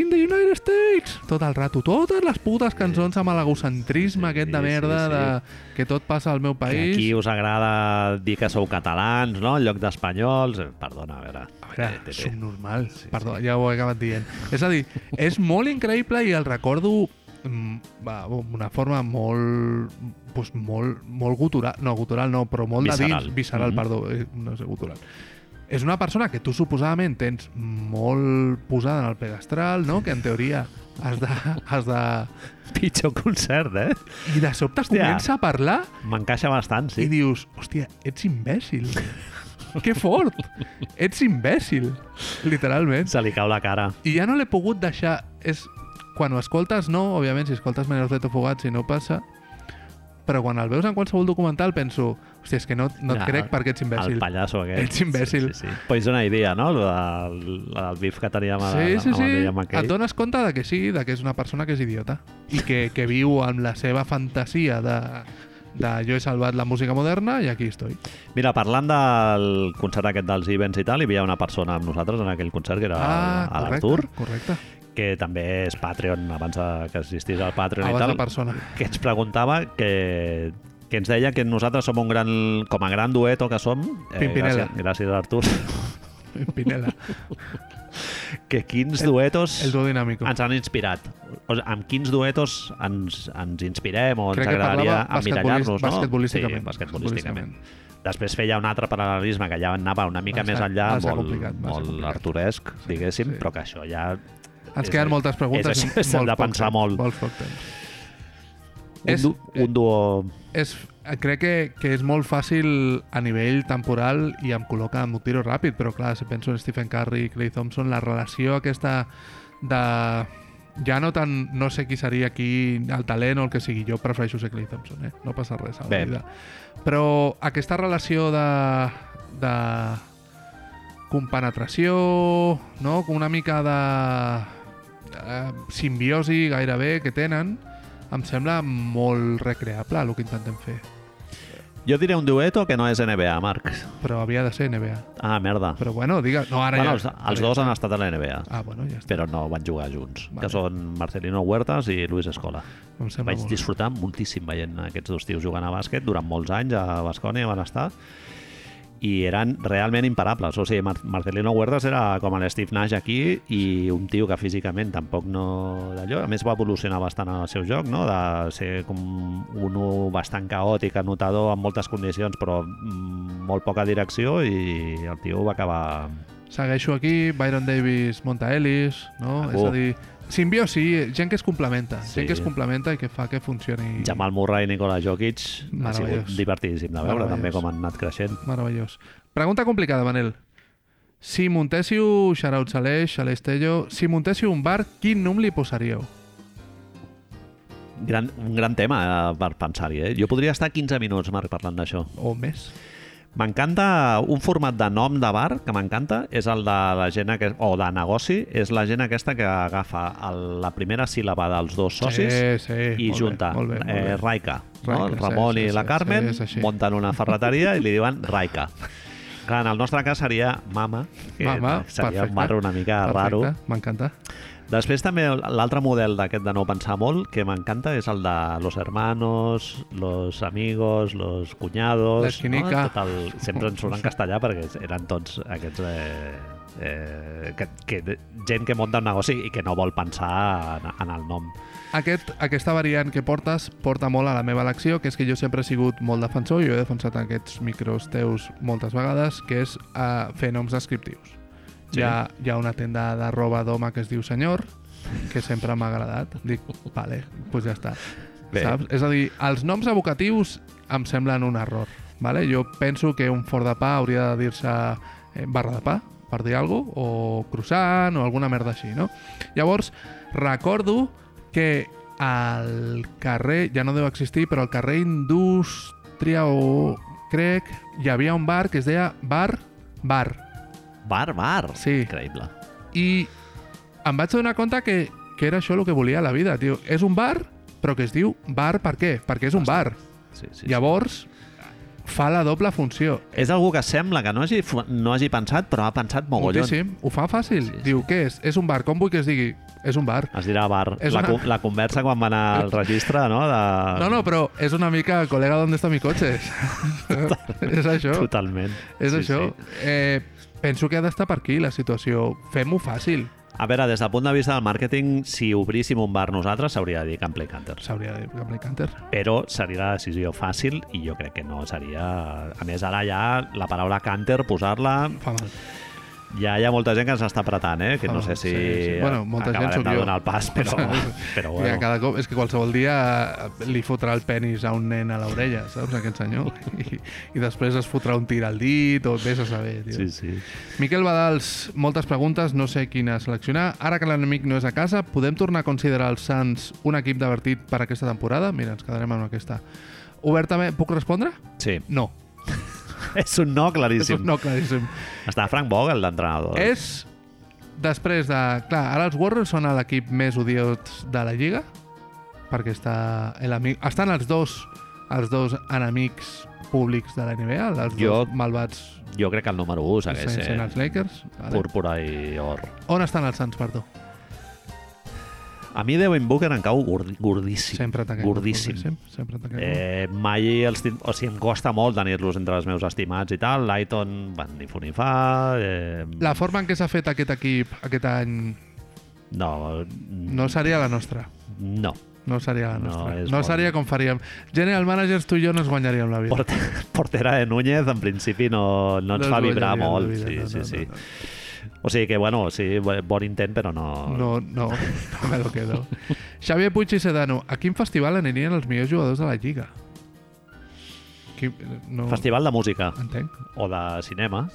Speaker 2: In the United States! Tot el rato, totes les putes cançons amb l'egocentrisme
Speaker 1: Sí,
Speaker 2: aquest de
Speaker 1: sí,
Speaker 2: merda
Speaker 1: sí.
Speaker 2: de... que tot passa al meu
Speaker 1: Que
Speaker 2: país.
Speaker 1: aquí us agrada dir que sou catalans, no? En lloc d'espanyols. Eh, Perdona, a veure. (laughs)
Speaker 2: A veure,
Speaker 1: Té, té, té.
Speaker 2: subnormal. Perdó, ja ho he acabat dient. És a dir, és molt increïble i el recordo mm, va, d'una forma molt, doncs molt, molt gutural, no, gutural no, però molt de
Speaker 1: Visceral.
Speaker 2: dins, visceral,
Speaker 1: Mhm.
Speaker 2: perdó, eh, no sé, gutural. És una persona que tu suposadament tens molt posada en el pedestral, no? que en teoria has de, has de...
Speaker 1: Pitjor concert, eh?
Speaker 2: I de sobte
Speaker 1: Hòstia.
Speaker 2: comença a parlar
Speaker 1: M'encaixa bastant,
Speaker 2: sí. i
Speaker 1: sí.
Speaker 2: dius, hòstia, ets imbècil. que fort! Ets imbècil, literalment.
Speaker 1: Se li cau la cara.
Speaker 2: I ja no l'he pogut deixar... És... Quan ho escoltes, no, òbviament, si escoltes Menors de Tofugat, si no passa, però quan el veus en qualsevol documental penso hòstia, és que no, no et
Speaker 1: Ja,
Speaker 2: crec perquè ets imbècil.
Speaker 1: El pallasso aquest.
Speaker 2: Ets imbècil.
Speaker 1: Sí, sí, sí. Poison Idea, no? El, el bif que teníem a,
Speaker 2: Sí, sí,
Speaker 1: amb
Speaker 2: sí.
Speaker 1: el Liam McKay.
Speaker 2: Et dones compte de que sí, de que és una persona que és idiota i que, que viu amb la seva fantasia de, de jo he salvat la música moderna i aquí estoy.
Speaker 1: Mira, parlant del concert aquest dels Ivens i tal, hi havia una persona amb nosaltres en aquell concert, que era el-
Speaker 2: Ah, correcte,
Speaker 1: l'Artur,
Speaker 2: correcte.
Speaker 1: que també és Patreon, abans de que existís el Patreon
Speaker 2: Abans
Speaker 1: i
Speaker 2: de
Speaker 1: tal,
Speaker 2: persona.
Speaker 1: que ens preguntava que, que ens deia que nosaltres som un gran, com a gran dueto que som,
Speaker 2: Pimpinela.
Speaker 1: gràcies, gràcies a l'Artur,
Speaker 2: Pinela.
Speaker 1: (laughs) que quins duetos
Speaker 2: El duo dinámico.
Speaker 1: ens han inspirat. O sigui, amb quins duetos ens, ens inspirem o
Speaker 2: Crec
Speaker 1: ens
Speaker 2: que
Speaker 1: agradaria
Speaker 2: parlava
Speaker 1: emmirallar-nos,
Speaker 2: basquetbolist-
Speaker 1: no?
Speaker 2: basquetbolísticament.
Speaker 1: Sí, basquetbolísticament. Després feia un altre paral·lelisme que ja anava una mica
Speaker 2: Va
Speaker 1: més
Speaker 2: ser-
Speaker 1: enllà,
Speaker 2: va ser
Speaker 1: molt,
Speaker 2: complicat, va ser
Speaker 1: molt
Speaker 2: complicat.
Speaker 1: arturesc, diguéssim,
Speaker 2: sí.
Speaker 1: però que això ja... és-
Speaker 2: Ens queden moltes preguntes.
Speaker 1: és
Speaker 2: i
Speaker 1: així, s'ha
Speaker 2: molt
Speaker 1: de
Speaker 2: poc
Speaker 1: pensar
Speaker 2: temps,
Speaker 1: molt.
Speaker 2: Molt poc temps.
Speaker 1: Un,
Speaker 2: És-
Speaker 1: du un duo...
Speaker 2: és, crec que, que és molt fàcil a nivell temporal i em col·loca amb un tiro ràpid, però clar, si penso en Stephen Curry i Clay Thompson, la relació aquesta de... Ja no tant, no sé qui seria aquí el talent o el que sigui, jo prefereixo ser Clay Thompson, eh? no passa res a la
Speaker 1: Bé.
Speaker 2: vida. Però aquesta relació de, de compenetració, no? Com una mica de eh, simbiosi gairebé que tenen, em sembla molt recreable el que intentem fer.
Speaker 1: Jo diré un dueto que no és NBA, Marc.
Speaker 2: Però havia de ser NBA.
Speaker 1: Ah, merda.
Speaker 2: Però bueno, diga... No, ara
Speaker 1: Bueno,
Speaker 2: ja...
Speaker 1: els, els dos han estat a la NBA,
Speaker 2: Ah, bueno, ja està.
Speaker 1: però no van jugar junts,
Speaker 2: Vale.
Speaker 1: que són Marcelino Huertas i Luis Escola.
Speaker 2: Em sembla
Speaker 1: Vaig
Speaker 2: molt. bé.
Speaker 1: disfrutar moltíssim veient aquests dos tios jugant a bàsquet durant molts anys a Bascònia van estar i eren realment imparables. O sigui, Mar Marcelino Huertas era com el Steve Nash aquí i un tio que físicament tampoc no d'allò. A més, va evolucionar bastant en el seu joc, no? de ser com un u bastant caòtic, anotador, amb moltes condicions, però mm, molt poca direcció i el tio va acabar...
Speaker 2: Segueixo aquí, Byron Davis, Monta Ellis, no?
Speaker 1: Algú.
Speaker 2: És a dir, simbiosi, gent que es complementa,
Speaker 1: Ah, uh. Sí.
Speaker 2: gent que es complementa i que fa que funcioni...
Speaker 1: Jamal Murray i Nikola Jokic ha sigut
Speaker 2: Meravellós.
Speaker 1: divertidíssim de veure també
Speaker 2: Meravellós.
Speaker 1: com han anat creixent.
Speaker 2: Meravellós. Pregunta complicada, Manel. Si muntéssiu, shoutouts a l'Eix, a l'Estello, si muntéssiu un bar, quin nom li posaríeu?
Speaker 1: Gran, un gran tema eh, per pensar-hi, eh? Jo podria estar 15 minuts, Marc, parlant d'això.
Speaker 2: O més?
Speaker 1: M'encanta un format de nom de bar que m'encanta, és el de la gent aquest, o de negoci, és la gent aquesta que agafa el, la primera síl·laba dels dos socis
Speaker 2: Sí, sí,
Speaker 1: i
Speaker 2: molt
Speaker 1: junta
Speaker 2: Bé, molt bé, molt
Speaker 1: eh,
Speaker 2: bé.
Speaker 1: Raica, no?
Speaker 2: Raica,
Speaker 1: el
Speaker 2: sí,
Speaker 1: Ramon
Speaker 2: sí,
Speaker 1: i la
Speaker 2: sí,
Speaker 1: Carmen
Speaker 2: sí, és així.
Speaker 1: munten una ferreteria i li diuen
Speaker 2: (laughs)
Speaker 1: Raica. Clar, en el nostre cas seria Mama, que
Speaker 2: Mama,
Speaker 1: seria
Speaker 2: perfecte.
Speaker 1: un bar una mica Ah, raro.
Speaker 2: Perfecte, M'encanta.
Speaker 1: Després també l'altre model d'aquest de no pensar molt que m'encanta és el de los hermanos, los amigos, los cuñados...
Speaker 2: La quinica.
Speaker 1: No? Tot el... Sempre ens surt en castellà perquè eren tots aquests... Eh, eh, que, que, gent que monta un negoci i que no vol pensar en, en el nom.
Speaker 2: Aquest, aquesta variant que portes porta molt a la meva elecció, que és que jo sempre he sigut molt defensor, i jo he defensat aquests micros teus moltes vegades, que és eh, fer noms descriptius.
Speaker 1: Sí.
Speaker 2: Sí. Hi, ha, hi ha una tenda de roba d'home que es diu Senyor, que sempre m'ha agradat. Dic, vale, doncs pues ja està.
Speaker 1: Bé.
Speaker 2: Saps? És a dir, els noms evocatius em semblen un error. Vale? Jo penso que un fort de pa hauria de dir-se eh, barra de pa, per dir alguna cosa, o croissant, o alguna merda així, no? Llavors, recordo que al carrer, ja no deu existir, però al carrer Indústria o crec, hi havia un bar que es deia Bar Bar.
Speaker 1: Bar, bar!
Speaker 2: Sí.
Speaker 1: Increïble.
Speaker 2: I em vaig donar compte que, que era això el que volia a la vida, tio. És un bar, però que es diu bar per què? Perquè és un bar.
Speaker 1: Sí, sí, sí.
Speaker 2: Llavors, fa la doble funció.
Speaker 1: És algú que sembla que no hagi, fu- no hagi pensat, però ha pensat mogollon.
Speaker 2: Moltíssim. Ho fa fàcil.
Speaker 1: Sí, sí.
Speaker 2: Diu, què és? És un bar. Com vull que es digui? És un bar.
Speaker 1: Es dirà bar.
Speaker 2: És
Speaker 1: La,
Speaker 2: una-
Speaker 1: co- la conversa quan va anar al registre, no? De...
Speaker 2: No, no, però és una mica, col·lega, d'on està mi
Speaker 1: (laughs)
Speaker 2: cotxe? és això.
Speaker 1: Totalment.
Speaker 2: És això. Eh, penso que ha d'estar per aquí, la situació. Fem-ho fàcil.
Speaker 1: A veure, des del punt de vista del màrqueting, si obríssim un bar nosaltres, s'hauria de dir Campley Canters.
Speaker 2: S'hauria de dir Black Panther.
Speaker 1: Però seria la decisió fàcil i jo crec que no seria... A més, ara ja la paraula canter, posar-la...
Speaker 2: Fa mal.
Speaker 1: Ja hi ha molta gent que ens està apretant, eh? Que no
Speaker 2: Ah,
Speaker 1: sé si
Speaker 2: sí, sí. Bueno, molta gent
Speaker 1: acabarem
Speaker 2: sóc
Speaker 1: de
Speaker 2: jo.
Speaker 1: donar el pas,
Speaker 2: (laughs)
Speaker 1: però, però
Speaker 2: Bueno.
Speaker 1: Ah, bueno.
Speaker 2: Mira, cada cop, és que qualsevol dia eh, li fotrà el penis a un nen a l'orella, saps, aquest senyor?
Speaker 1: (laughs)
Speaker 2: I, I després es fotrà un tir al dit o vés a saber, tio.
Speaker 1: Sí, sí.
Speaker 2: Miquel Badals, moltes preguntes, no sé quina seleccionar. Ara que l'enemic no és a casa, podem tornar a considerar els Sants un equip divertit per aquesta temporada? Mira, ens quedarem amb aquesta. Obertament, puc respondre?
Speaker 1: Sí. (laughs)
Speaker 2: No.
Speaker 1: És un no claríssim.
Speaker 2: No, claríssim.
Speaker 1: Està Frank Vogel, l'entrenador.
Speaker 2: És després de... Clar, ara els Warriors són l'equip més odiós de la Lliga, perquè està l'amic... Estan els dos, els dos enemics públics de la NBA, els
Speaker 1: Jo-
Speaker 2: dos malvats
Speaker 1: Jo crec que el número 1 segueix
Speaker 2: sent
Speaker 1: sent
Speaker 2: els Lakers. Vale.
Speaker 1: Púrpura i Or.
Speaker 2: On estan els Suns, perdó?
Speaker 1: A mi Devin Booker em cau gordi- gordíssim.
Speaker 2: sempre ataquem.
Speaker 1: Gordíssim.
Speaker 2: Sempre, sempre ataquem. Eh...
Speaker 1: Eh, mai els tinc... O sigui, em costa molt tenir-los entre els meus estimats i tal. Lighton, van ni fun ni fa... Eh,
Speaker 2: La forma en què s'ha fet aquest equip aquest any
Speaker 1: No,
Speaker 2: no seria la nostra.
Speaker 1: no.
Speaker 2: No seria la
Speaker 1: No,
Speaker 2: nostra.
Speaker 1: és
Speaker 2: No,
Speaker 1: bon.
Speaker 2: seria com faríem. General Managers, tu i jo no ens guanyaríem la vida.
Speaker 1: Porter, (laughs) portera de Núñez, en principi, no, no ens fa vibrar
Speaker 2: guanyaríem la
Speaker 1: molt.
Speaker 2: vida,
Speaker 1: Sí, sí,
Speaker 2: no, no,
Speaker 1: sí.
Speaker 2: no, no.
Speaker 1: O sigui que, bueno, sí, bon intent, però no...
Speaker 2: No, no, no me lo
Speaker 1: (laughs)
Speaker 2: quedo. Xavier Puig i Sedano, a quin festival anirien els millors jugadors de la Lliga? Qui, no,
Speaker 1: Festival de música
Speaker 2: Entenc.
Speaker 1: o de cinema,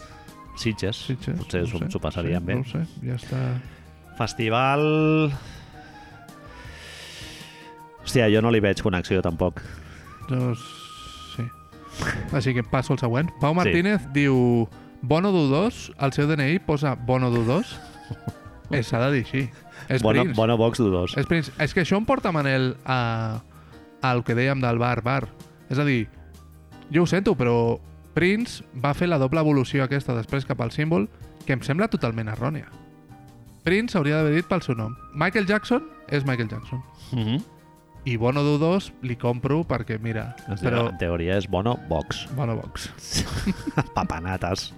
Speaker 1: Sitges,
Speaker 2: Sitges,
Speaker 1: potser
Speaker 2: no
Speaker 1: s'ho
Speaker 2: ho sé,
Speaker 1: s'ho passarien
Speaker 2: sí,
Speaker 1: bé.
Speaker 2: No ho sé, ja està...
Speaker 1: Festival... Hòstia, jo no li veig connexió tampoc.
Speaker 2: No sé. Així que passo al següent. Pau Martínez sí. diu... Bono Dudós, al seu DNI posa Bono Dudós.
Speaker 1: (laughs)
Speaker 2: Eh, S'ha de dir així. És
Speaker 1: Bono,
Speaker 2: Prince.
Speaker 1: Bono Box Dudos.
Speaker 2: És, Prince. és que això em porta, Manel, a, al que dèiem del bar-bar. És a dir, jo ho sento, però Prince va fer la doble evolució aquesta després cap al símbol, que em sembla totalment errònia. Prince hauria d'haver dit pel seu nom. Michael Jackson és Michael Jackson.
Speaker 1: Mm -hmm.
Speaker 2: I Bono Dudós li compro perquè, mira,
Speaker 1: Però...
Speaker 2: però...
Speaker 1: En teoria és Bono (laughs) Box.
Speaker 2: Bono Box.
Speaker 1: Papanates.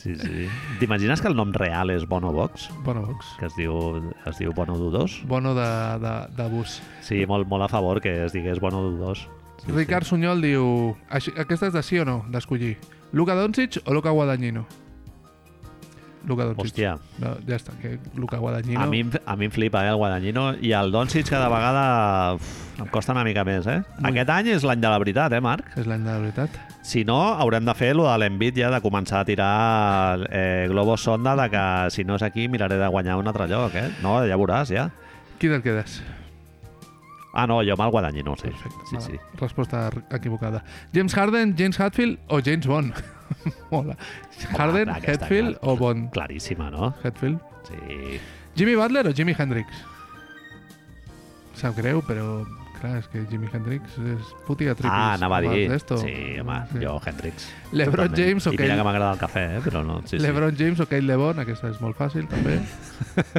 Speaker 1: Sí, sí. T'imagines que el nom real és Bono Box?
Speaker 2: Bono Box.
Speaker 1: Que es diu, es diu Bono Dudos?
Speaker 2: Bono de, de, de bus.
Speaker 1: Sí, molt, molt a favor que es digués Bono Dudos. Sí,
Speaker 2: Sí, Ricard Sunyol diu... "Així- Aquesta és de sí o no, d'escollir. Luka Doncic o Luka Guadagnino? Luka
Speaker 1: Sí.
Speaker 2: Doncic.
Speaker 1: Hòstia,
Speaker 2: No, ja està, que Luka Guadagnino...
Speaker 1: a mi, em- a mi em flipa, eh, el Guadagnino. I el Doncic cada vegada uf, em costa una mica més, eh?
Speaker 2: Molt.
Speaker 1: Aquest any és l'any de la veritat, eh, Marc?
Speaker 2: És l'any de la veritat.
Speaker 1: Si no, haurem de fer lo de l'envit ja, de començar a tirar eh, globos sonda de que si no és aquí miraré de guanyar un altre lloc, eh? No, ja veuràs, ja.
Speaker 2: Qui te'l quedes?
Speaker 1: Ah, no, jo me'l guadanyino, sí.
Speaker 2: Perfecte.
Speaker 1: Sí,
Speaker 2: mala.
Speaker 1: sí.
Speaker 2: Resposta r- equivocada. James Harden, James Hatfield o James Bond? (laughs) Mola. Harden,
Speaker 1: clar, aquesta,
Speaker 2: Hatfield
Speaker 1: clar.
Speaker 2: o Bond?
Speaker 1: Claríssima, no?
Speaker 2: Hatfield.
Speaker 1: Sí.
Speaker 2: Jimmy Butler o Jimi Hendrix? Sap greu, però clar, és que Jimi Hendrix és puti a triples.
Speaker 1: Ah, anava a
Speaker 2: abans
Speaker 1: dir.
Speaker 2: d'esto.
Speaker 1: Sí, home, jo, Hendrix.
Speaker 2: LeBron
Speaker 1: Totalment.
Speaker 2: James o
Speaker 1: I mira
Speaker 2: Kyle-
Speaker 1: que m'agrada el cafè, eh? però no. Sí,
Speaker 2: LeBron James o Kate LeBron, aquesta és molt fàcil, també.
Speaker 1: (laughs) sí.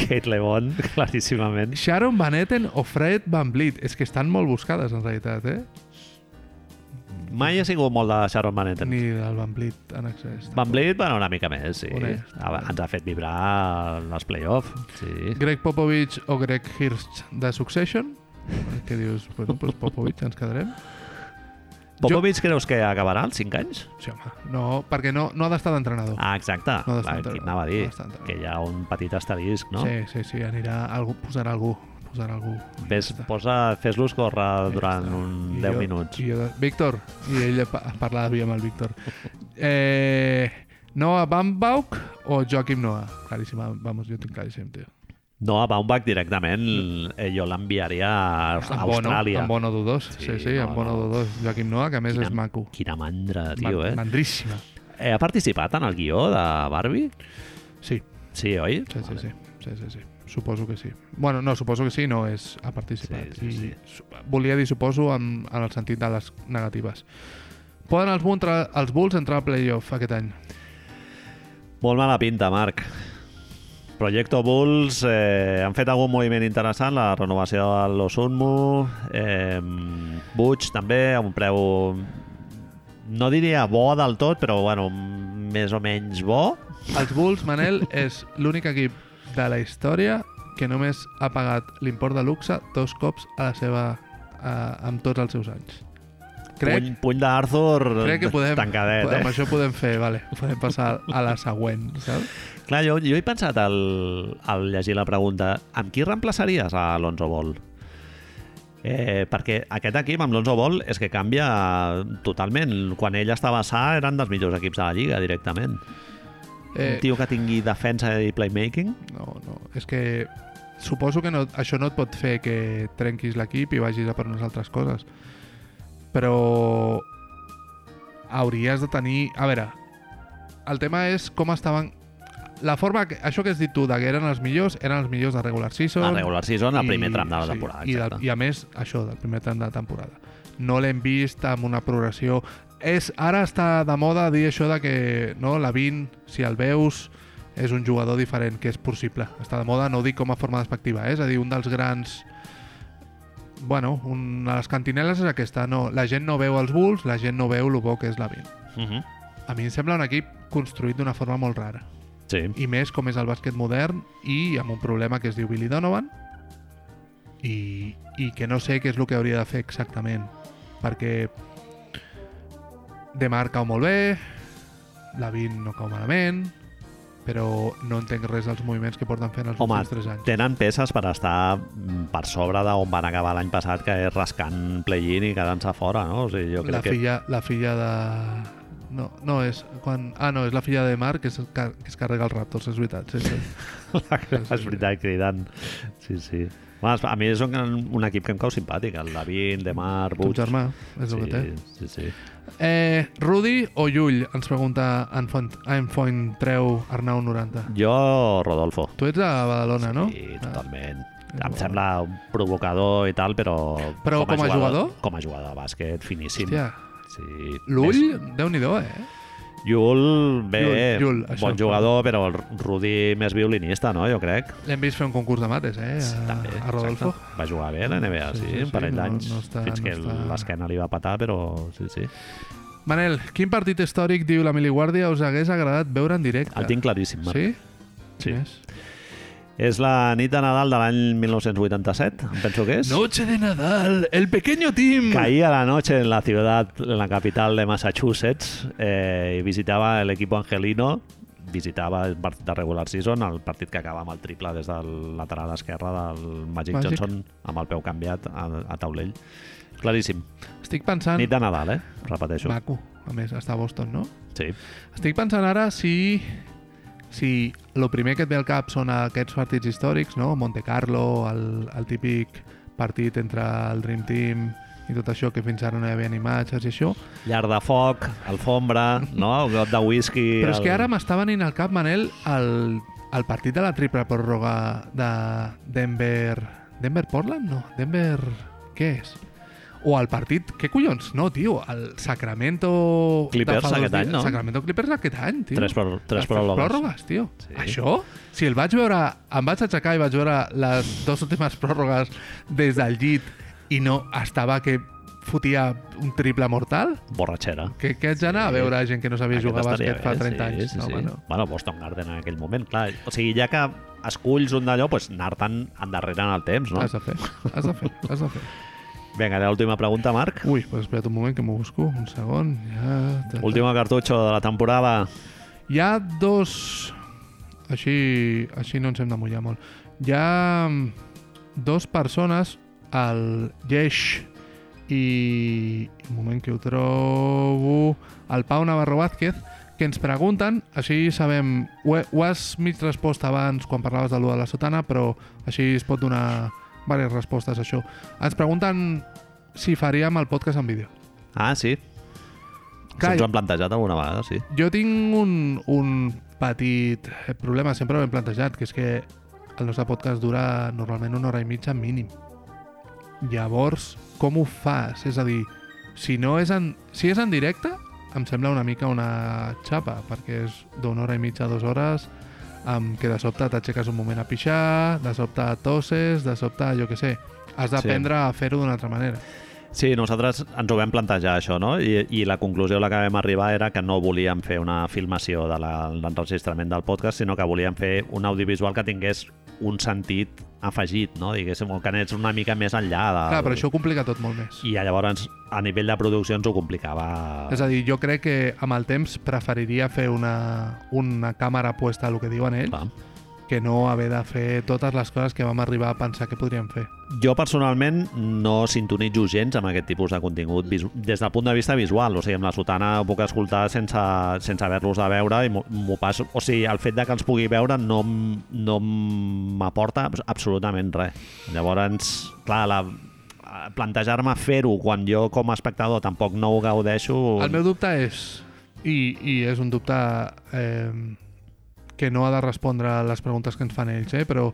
Speaker 1: Kate Lebon, (laughs) claríssimament.
Speaker 2: Sharon Van Etten o Fred Van Vliet. És que estan molt buscades, en realitat, eh?
Speaker 1: Mai he sigut molt de Sharon Van Etten.
Speaker 2: Ni del Van Vliet en accés.
Speaker 1: Van Vliet, bueno, una mica més, sí.
Speaker 2: Honest.
Speaker 1: Ah, Ens ha fet vibrar en els play-off. Sí.
Speaker 2: Greg Popovich o Greg Hirsch de Succession? Que dius,
Speaker 1: (laughs)
Speaker 2: bueno, pues Popovich, ens quedarem.
Speaker 1: Popovich creus que acabarà als 5 anys?
Speaker 2: Sí, home, no, perquè no, no ha d'estar d'entrenador.
Speaker 1: Ah, exacte.
Speaker 2: No ha
Speaker 1: No
Speaker 2: d'estar
Speaker 1: Aquí
Speaker 2: entrenador.
Speaker 1: anava a
Speaker 2: No ha
Speaker 1: dir
Speaker 2: d'estar entrenador.
Speaker 1: que hi ha un petit asterisc, no?
Speaker 2: Sí, sí, sí, anirà, algú, posarà algú, posarà algú.
Speaker 1: Ves,
Speaker 2: Ja està.
Speaker 1: posa, fes-los córrer durant
Speaker 2: està.
Speaker 1: un
Speaker 2: I
Speaker 1: 10
Speaker 2: jo-
Speaker 1: minuts.
Speaker 2: I jo, de- Víctor, i ell pa- parlava avui amb el Víctor. Eh, Noah Bambauk o Joaquim Noah? Claríssim, vamos, jo tinc claríssim, tio.
Speaker 1: No, a Baumbach directament eh, jo l'enviaria a
Speaker 2: Amb
Speaker 1: Austràlia.
Speaker 2: Bono, amb Bono Dudós, sí, sí,
Speaker 1: Sí,
Speaker 2: sí
Speaker 1: no,
Speaker 2: amb Bono
Speaker 1: no.
Speaker 2: Dudós. Joaquim Noah, que a més
Speaker 1: Quina-
Speaker 2: és maco.
Speaker 1: Quina mandra, tio, eh?
Speaker 2: Mandríssima.
Speaker 1: eh? Ha participat en el guió de Barbie?
Speaker 2: Sí,
Speaker 1: Sí, oi?
Speaker 2: sí, sí, sí, sí, sí, sí. Suposo que sí. Bueno, no, suposo que sí, no és ha participat.
Speaker 1: Sí, sí,
Speaker 2: I su- Volia dir suposo en, en el sentit de les negatives. Poden els, Bulls entrar- els Bulls entrar al playoff aquest any?
Speaker 1: Molt mala pinta, Marc. Projecto Bulls, eh, han fet algun moviment interessant, la renovació de l'Osunmu, eh, Butch també, a un preu no diria bo del tot, però bueno, més o menys bo.
Speaker 2: Els Bulls, Manel, és l'únic equip de la història que només ha pagat l'import de luxe dos cops a la seva... A, amb tots els seus anys. Crec,
Speaker 1: Puny, puny d'Arthur
Speaker 2: crec que podem...
Speaker 1: tancadet, eh?
Speaker 2: Amb això podem fer, vale, podem passar a la següent, saps?
Speaker 1: Clar, jo, jo he pensat al, al llegir la pregunta amb qui reemplaçaries a Alonso Ball? Eh, perquè aquest equip amb l'Onzo Ball és que canvia totalment. Quan ell estava sa eren dels millors equips de la Lliga directament. Eh,
Speaker 2: Eh,
Speaker 1: Un tio que tingui defensa i playmaking.
Speaker 2: No, no, és que suposo que no, això no et pot fer que trenquis l'equip i vagis a per unes altres coses. Però hauries de tenir... A veure, el tema és com estaven... La forma... Que, això que has dit tu, de que eren els millors, eren els millors de regular season.
Speaker 1: A regular season, al primer tram de la
Speaker 2: sí,
Speaker 1: temporada.
Speaker 2: I, del,
Speaker 1: exacte.
Speaker 2: I a més, això, del primer tram de la temporada. No l'hem vist amb una progressió... És, ara està de moda dir això de que no, la 20, si el veus, és un jugador diferent, que és possible. Està de moda, no ho dic com a forma despectiva, eh? és a dir, un dels grans... Bueno, una de les cantineles és aquesta. No, la gent no veu els Bulls, la gent no veu lo bo que és la 20.
Speaker 1: Mhm.
Speaker 2: A mi em sembla un equip construït d'una forma molt rara
Speaker 1: Sí.
Speaker 2: i més com és el bàsquet modern i amb un problema que es diu Billy Donovan i, i que no sé què és el que hauria de fer exactament perquè Demar cau molt bé Lavin no cau malament però no entenc res dels moviments que porten fent els
Speaker 1: Home,
Speaker 2: últims 3 anys
Speaker 1: tenen peces per estar mm, per sobre d'on van acabar l'any passat, que és rascant play-in i quedant-se fora, no? O sigui, jo crec
Speaker 2: la filla, la filla de... No, no, és quan... Ah, no, és la filla de Demar que es, car- que es carrega els Raptors, és veritat. Sí, sí.
Speaker 1: (laughs) que... és veritat, cridant. Sí, sí. Bueno, a mi és un, un equip que em cau simpàtic, el David, Demar,
Speaker 2: Tu,
Speaker 1: Butch...
Speaker 2: germà, és el que té.
Speaker 1: sí, sí.
Speaker 2: Eh, Rudi o Llull? Ens pregunta en Font, en Font Treu Arnau 90.
Speaker 1: Jo, Rodolfo.
Speaker 2: Tu ets de Badalona, Ah, no?
Speaker 1: Sí, totalment.
Speaker 2: Ah.
Speaker 1: Em sembla un provocador i tal, però...
Speaker 2: Però com a jugador?
Speaker 1: Com a jugador de bàsquet, finíssim.
Speaker 2: Hòstia,
Speaker 1: Sí.
Speaker 2: l'ull, déu nhi eh?
Speaker 1: Més- Llull, bé,
Speaker 2: Llull, Llull, això.
Speaker 1: bon jugador, però el Rudi més violinista, no?, jo crec.
Speaker 2: L'hem vist fer un concurs de mates, eh?
Speaker 1: Sí,
Speaker 2: A,
Speaker 1: també,
Speaker 2: a Rodolfo.
Speaker 1: exacte. Va jugar bé a la NBA, sí, sí, sí un parell d'anys, no, no fins que no l'esquena li va patar, però sí, sí.
Speaker 2: Manel, quin partit històric, diu la Miliguàrdia, us hagués agradat veure en directe?
Speaker 1: El tinc claríssim, Marc.
Speaker 2: Sí?
Speaker 1: Sí.
Speaker 2: Quin és?
Speaker 1: És la nit de Nadal de l'any 1987, em penso que és.
Speaker 2: Noche de Nadal, el pequeño team.
Speaker 1: Caía la noche en la ciudad, en la capital de Massachusetts, eh, y visitaba el equipo angelino, visitava el partit de regular season, el partit que acaba amb el triple des del lateral esquerre del Magic,
Speaker 2: Magic.
Speaker 1: Johnson, amb el peu canviat a, a taulell. Claríssim.
Speaker 2: Estic pensant...
Speaker 1: Nit de Nadal, eh? Repeteixo.
Speaker 2: Maco. A més, està a Boston, no?
Speaker 1: Sí.
Speaker 2: Estic pensant ara si... Si el primer que et ve al cap són aquests partits històrics, no? Monte Carlo, el, el típic partit entre el Dream Team i tot això, que fins ara no hi havia ni imatges i això.
Speaker 1: Llar de foc, alfombra, no? Un got de whisky...
Speaker 2: Però és
Speaker 1: el-
Speaker 2: que ara m'està venint al cap, Manel, el, el partit de la triple pròrroga de Denver... Denver-Portland? No, Denver... Què és? O el partit... Què collons? No, tio, el Sacramento... de
Speaker 1: Clippers
Speaker 2: fa dos
Speaker 1: aquest any,
Speaker 2: dies.
Speaker 1: no?
Speaker 2: Sacramento Clippers aquest any, tio.
Speaker 1: Tres, pròr
Speaker 2: Les
Speaker 1: tres pròlogues.
Speaker 2: pròrrogues, tio.
Speaker 1: Sí.
Speaker 2: Això? Si el vaig veure, em vaig aixecar i vaig veure les dues últimes pròrrogues des del llit i no estava que fotia un triple mortal,
Speaker 1: Borratxera.
Speaker 2: que, que haig d'anar a veure gent que no sabia jugar a
Speaker 1: Aquest
Speaker 2: bàsquet
Speaker 1: estaria
Speaker 2: fa
Speaker 1: bé,
Speaker 2: 30 anys. no, home, no.
Speaker 1: Bueno, Boston Garden en aquell moment, clar. O sigui, ja que esculls un d'allò, doncs anar-te'n endarrere en el temps, no?
Speaker 2: Has de fer, has de fer, has
Speaker 1: (laughs)
Speaker 2: de fer.
Speaker 1: Vinga, l'última pregunta, Marc.
Speaker 2: Ui, pues espera't un moment que m'ho busco, un segon. Ja... ta, ta.
Speaker 1: Última cartutxo de la temporada.
Speaker 2: Hi ha dos... Així, així no ens hem de mullar molt. Hi ha mm, dos persones, el Yesh i... Un moment que ho trobo... El Pau Navarro Vázquez, que ens pregunten, així sabem... Ho, he- ho has mig respost abans quan parlaves de l'1 de la sotana, però així es pot donar diverses respostes a això. Ens pregunten si faríem el podcast en vídeo.
Speaker 1: Ah, sí. Clar,
Speaker 2: Clar,
Speaker 1: ens ho han plantejat alguna vegada, sí.
Speaker 2: Jo tinc un, un petit problema, sempre ho hem plantejat, que és que el nostre podcast dura normalment una hora i mitja mínim. Llavors, com ho fas? És a dir, Si, no és en, si és en directe, em sembla una mica una xapa, perquè és d'una hora i mitja a dues hores, amb que de sobte t'aixeques un moment a pixar, de sobte toses, de sobte, jo que sé, has d'aprendre a fer-ho d'una altra manera.
Speaker 1: Sí, nosaltres ens ho vam plantejar, això, no? I, I la conclusió a la que vam arribar era que no volíem fer una filmació de la- l'enregistrament del podcast, sinó que volíem fer un audiovisual que tingués un sentit afegit, no? Diguéssim, o que anés una mica més enllà de...
Speaker 2: Clar, però això ho complica tot molt més.
Speaker 1: I llavors, a nivell de producció, ens ho complicava...
Speaker 2: Ah. És a dir, jo crec que amb el temps preferiria fer una, una càmera puesta a lo que diuen ells,
Speaker 1: Clar.
Speaker 2: que no haver de fer totes les coses que vam arribar a pensar que podríem fer.
Speaker 1: Jo personalment no sintonitzo gens amb aquest tipus de contingut visu- des del punt de vista visual, o sigui, amb la sotana ho puc escoltar sense, sense haver-los de veure i m'ho- m'ho passo, o sigui, el fet de que els pugui veure no, m- no m'aporta abs- absolutament res. Llavors, clar, la, a- plantejar-me fer-ho quan jo com a espectador tampoc no ho gaudeixo...
Speaker 2: El meu dubte és, i, i és un dubte eh, que no ha de respondre a les preguntes que ens fan ells, eh? però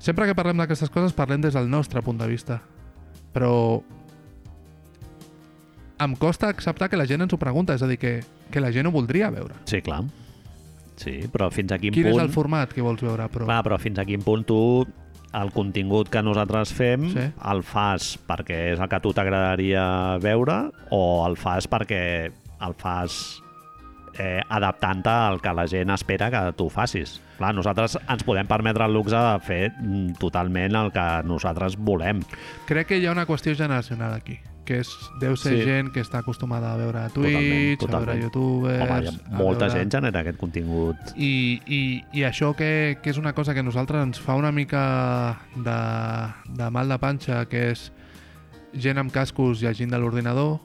Speaker 2: sempre que parlem d'aquestes coses parlem des del nostre punt de vista. Però em costa acceptar que la gent ens ho pregunta, és a dir, que, que la gent ho voldria veure.
Speaker 1: Sí, clar. Sí, però fins a quin
Speaker 2: Quin
Speaker 1: punt...
Speaker 2: és el format que vols veure, però...
Speaker 1: Clar, però fins a quin punt tu el contingut que nosaltres fem sí.
Speaker 2: Sí.
Speaker 1: el fas perquè és el que a tu t'agradaria veure o el fas perquè el fas eh, adaptant-te al que la gent espera que tu facis. Clar, nosaltres ens podem permetre el luxe de fer mm, totalment el que nosaltres volem.
Speaker 2: Crec que hi ha una qüestió generacional aquí, que és, deu ser
Speaker 1: Sí.
Speaker 2: sí. gent que està acostumada a veure
Speaker 1: Totalment,
Speaker 2: Twitch, a
Speaker 1: totalment.
Speaker 2: veure YouTubers...
Speaker 1: Home, hi ha
Speaker 2: a
Speaker 1: molta
Speaker 2: veure...
Speaker 1: gent genera aquest contingut.
Speaker 2: I, i, i això que, que és una cosa que a nosaltres ens fa una mica de, de mal de panxa, que és gent amb cascos llegint de l'ordinador,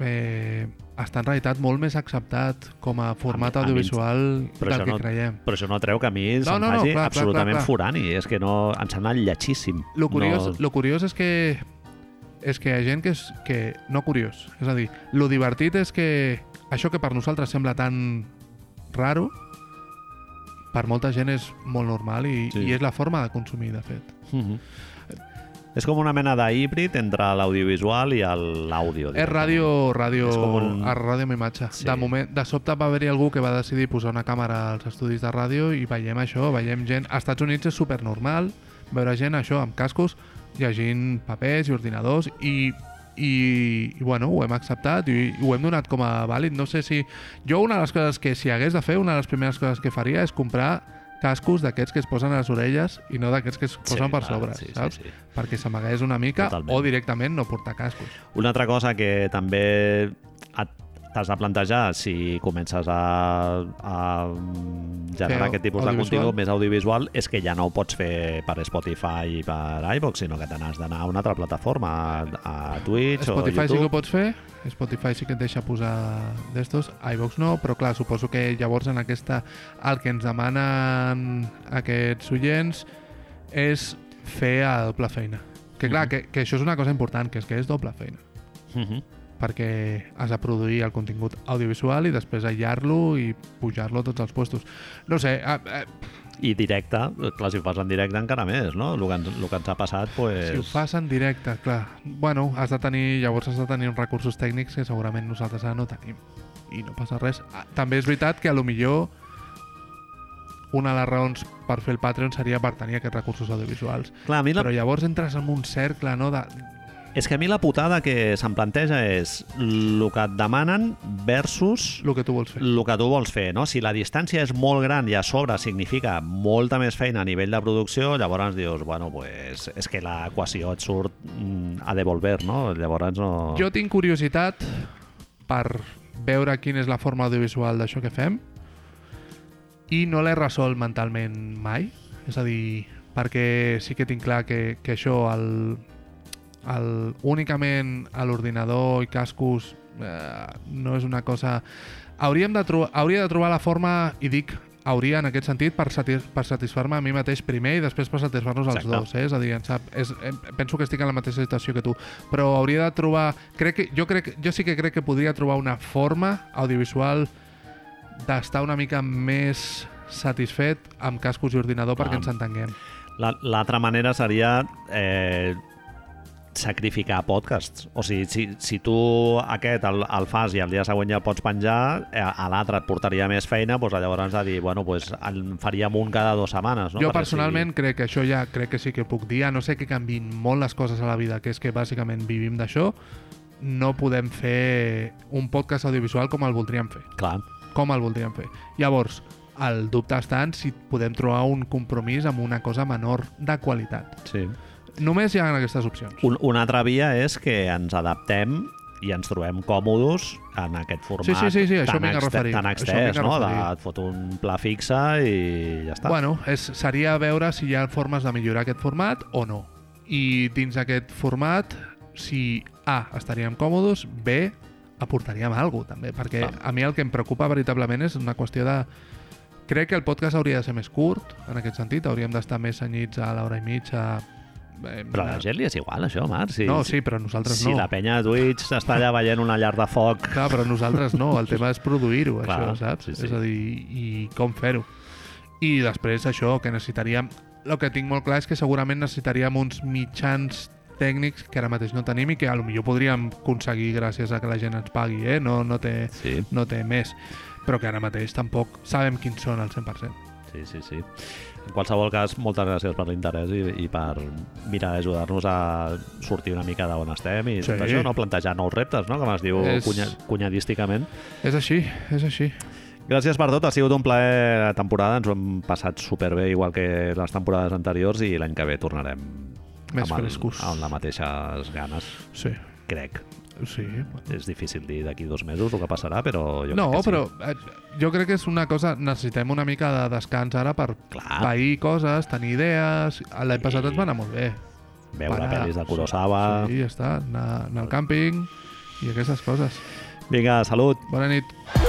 Speaker 2: eh, està en realitat molt més acceptat com a format
Speaker 1: A mi- a mi ens-
Speaker 2: audiovisual
Speaker 1: Però això
Speaker 2: del que
Speaker 1: no-
Speaker 2: creiem.
Speaker 1: Però això no treu que a mi no, se'm
Speaker 2: no, no,
Speaker 1: faci
Speaker 2: clar, clar,
Speaker 1: absolutament
Speaker 2: clar, clar.
Speaker 1: forani. És que no, em sembla lletxíssim.
Speaker 2: Lo curiós,
Speaker 1: No,
Speaker 2: lo curiós és que és que hi ha gent que, és, que no curiós. És a dir, lo divertit és que això que per nosaltres sembla tan raro, per molta gent és molt normal i,
Speaker 1: Sí.
Speaker 2: sí. i és la forma de consumir, de fet.
Speaker 1: Mhm. Mm-hmm. És com una mena d'híbrid entre l'audiovisual i el- l'àudio.
Speaker 2: És ràdio, ràdio,
Speaker 1: És com un-
Speaker 2: a ràdio amb imatge.
Speaker 1: Sí.
Speaker 2: Sí. De moment, de sobte va haver-hi algú que va decidir posar una càmera als estudis de ràdio i veiem això, veiem gent... Als Estats Units és supernormal veure gent, això, amb cascos, llegint papers i ordinadors i, i, i bueno, ho hem acceptat i, i ho hem donat com a vàlid. No sé si... Jo una de les coses que si hagués de fer, una de les primeres coses que faria és comprar cascos d'aquests que es posen a les orelles i no d'aquests que es posen per
Speaker 1: clar,
Speaker 2: sobre,
Speaker 1: sí, sí,
Speaker 2: saps?
Speaker 1: sí.
Speaker 2: Perquè s'amagués una mica
Speaker 1: Totalment.
Speaker 2: o directament no portar cascos.
Speaker 1: Una altra cosa que també et- t'has de plantejar si comences a, a generar
Speaker 2: Fer
Speaker 1: aquest tipus de
Speaker 2: audiovisual.
Speaker 1: contingut més audiovisual és que ja no ho pots fer per Spotify i per iVox, sinó que te n'has d'anar a una altra plataforma, a, a Twitch
Speaker 2: Spotify
Speaker 1: o
Speaker 2: sí que ho
Speaker 1: YouTube.
Speaker 2: pots fer, Spotify sí que et deixa posar d'estos, iVox no, però clar, suposo que llavors en aquesta... El que ens demanen aquests oients és fer a doble feina. Que clar, que, que això és una cosa important, que és que és doble feina.
Speaker 1: Mhm.
Speaker 2: Perquè has de produir el contingut audiovisual i després aïllar-lo i pujar-lo a tots els puestos. No sé, a, a,
Speaker 1: I directe, clar, si ho fas en directe encara més, no? El que, ens- el que ens ha passat, pues...
Speaker 2: Si ho fas en directe, clar. Bueno, has de tenir, llavors has de tenir uns recursos tècnics que segurament nosaltres ara no tenim. I no passa res. Ah, També és veritat que a lo millor una de les raons per fer el Patreon seria per tenir aquests recursos audiovisuals.
Speaker 1: Clar, a mi la
Speaker 2: Però llavors entres en un cercle, no? De...
Speaker 1: És que a mi la putada que se'm planteja és el que et demanen versus
Speaker 2: El que tu vols fer.
Speaker 1: el que tu vols fer, no? Si la distància és molt gran i a sobre significa molta més feina a nivell de producció, llavors dius, bueno, pues, és que l'equació et surt mm, a devolver, no? Llavors no...
Speaker 2: Jo tinc curiositat per veure quina és la forma audiovisual d'això que fem i no l'he resolt mentalment mai. És a dir, perquè sí que tinc clar que, que això el, el, únicament a l'ordinador i cascos eh, no és una cosa... Hauríem de tro- hauria de trobar la forma, i dic hauria en aquest sentit, per, satis per satisfar-me a mi mateix primer i després per satisfar-nos els
Speaker 1: Exacte.
Speaker 2: dos. Eh? És a dir, em sap, és, em, penso que estic en la mateixa situació que tu, però hauria de trobar... Crec que, jo, crec, jo sí que crec que podria trobar una forma audiovisual d'estar una mica més satisfet amb cascos i ordinador
Speaker 1: Clar.
Speaker 2: perquè ens entenguem.
Speaker 1: La- L'altra manera seria eh, sacrificar podcasts. O sigui, si, si tu aquest el, el fas i el dia següent ja el pots penjar, eh, a l'altre et portaria més feina, doncs llavors de dir, bueno, doncs en faríem un cada dues setmanes. No?
Speaker 2: Jo
Speaker 1: Perquè
Speaker 2: personalment crec que això ja crec que sí que puc dir, a no sé que canvin molt les coses a la vida, que és que bàsicament vivim d'això, no podem fer un podcast audiovisual com el voldríem fer.
Speaker 1: Sigui, clar,
Speaker 2: Com el voldríem fer. Llavors, el dubte està en si podem trobar un compromís amb una cosa menor de qualitat.
Speaker 1: sí.
Speaker 2: Només hi ha aquestes opcions.
Speaker 1: Un, una altra via és que ens adaptem i ens trobem còmodes en aquest format
Speaker 2: Sí, sí, sí, sí, això
Speaker 1: tan,
Speaker 2: m'hi he referit,
Speaker 1: tan
Speaker 2: això
Speaker 1: extès,
Speaker 2: m'hi he
Speaker 1: no? De,
Speaker 2: referit.
Speaker 1: et fot un pla fixe i ja està.
Speaker 2: Bueno, és, seria veure si hi ha formes de millorar aquest format o no. I dins d'aquest format, si A, estaríem còmodes, B, aportaríem alguna cosa, també. Perquè
Speaker 1: Clar.
Speaker 2: a mi el que em preocupa veritablement és una qüestió de... Crec que el podcast hauria de ser més curt, en aquest sentit. Hauríem d'estar més cenyits a l'hora i mitja... eh,
Speaker 1: Però a la gent li és igual, això, Marc. Si,
Speaker 2: No, sí, però nosaltres
Speaker 1: si
Speaker 2: no.
Speaker 1: la penya de Twitch s'està allà veient una llar de foc
Speaker 2: Clar, però nosaltres no, el tema és produir-ho,
Speaker 1: Clar,
Speaker 2: això, saps?
Speaker 1: sí, sí.
Speaker 2: És a dir, i com fer-ho. I després això, que necessitaríem... El que tinc molt clar és que segurament necessitaríem uns mitjans tècnics que ara mateix no tenim i que a lo millor podríem aconseguir gràcies a que la gent ens pagui, eh? No, no, té,
Speaker 1: Sí,
Speaker 2: no té més. Però que ara mateix tampoc sabem quins són al 100%.
Speaker 1: sí, sí, sí. En qualsevol cas, moltes gràcies per l'interès i, i per mirar d'ajudar-nos a sortir una mica d'on estem i
Speaker 2: Sí.
Speaker 1: tot això, no plantejar nous reptes, no? com es diu
Speaker 2: És-
Speaker 1: és... Cunya, cunyadísticament.
Speaker 2: És així, és així.
Speaker 1: Gràcies per tot, ha sigut un plaer la temporada, ens ho hem passat superbé, igual que les temporades anteriors, i l'any que ve tornarem
Speaker 2: Més
Speaker 1: amb, el,
Speaker 2: frescos.
Speaker 1: amb les mateixes ganes,
Speaker 2: Sí,
Speaker 1: crec.
Speaker 2: sí.
Speaker 1: És difícil dir d'aquí dos mesos el que passarà, però jo
Speaker 2: no,
Speaker 1: crec que sí.
Speaker 2: però eh, jo crec que és una cosa... Necessitem una mica de descans ara per
Speaker 1: Clar,
Speaker 2: pair coses, tenir idees... L'any passat ens va anar molt bé.
Speaker 1: veure
Speaker 2: parar.
Speaker 1: pel·lis de Kurosawa...
Speaker 2: Sí, ja està, anar, anar al càmping i aquestes coses.
Speaker 1: Vinga, salut!
Speaker 2: Bona nit.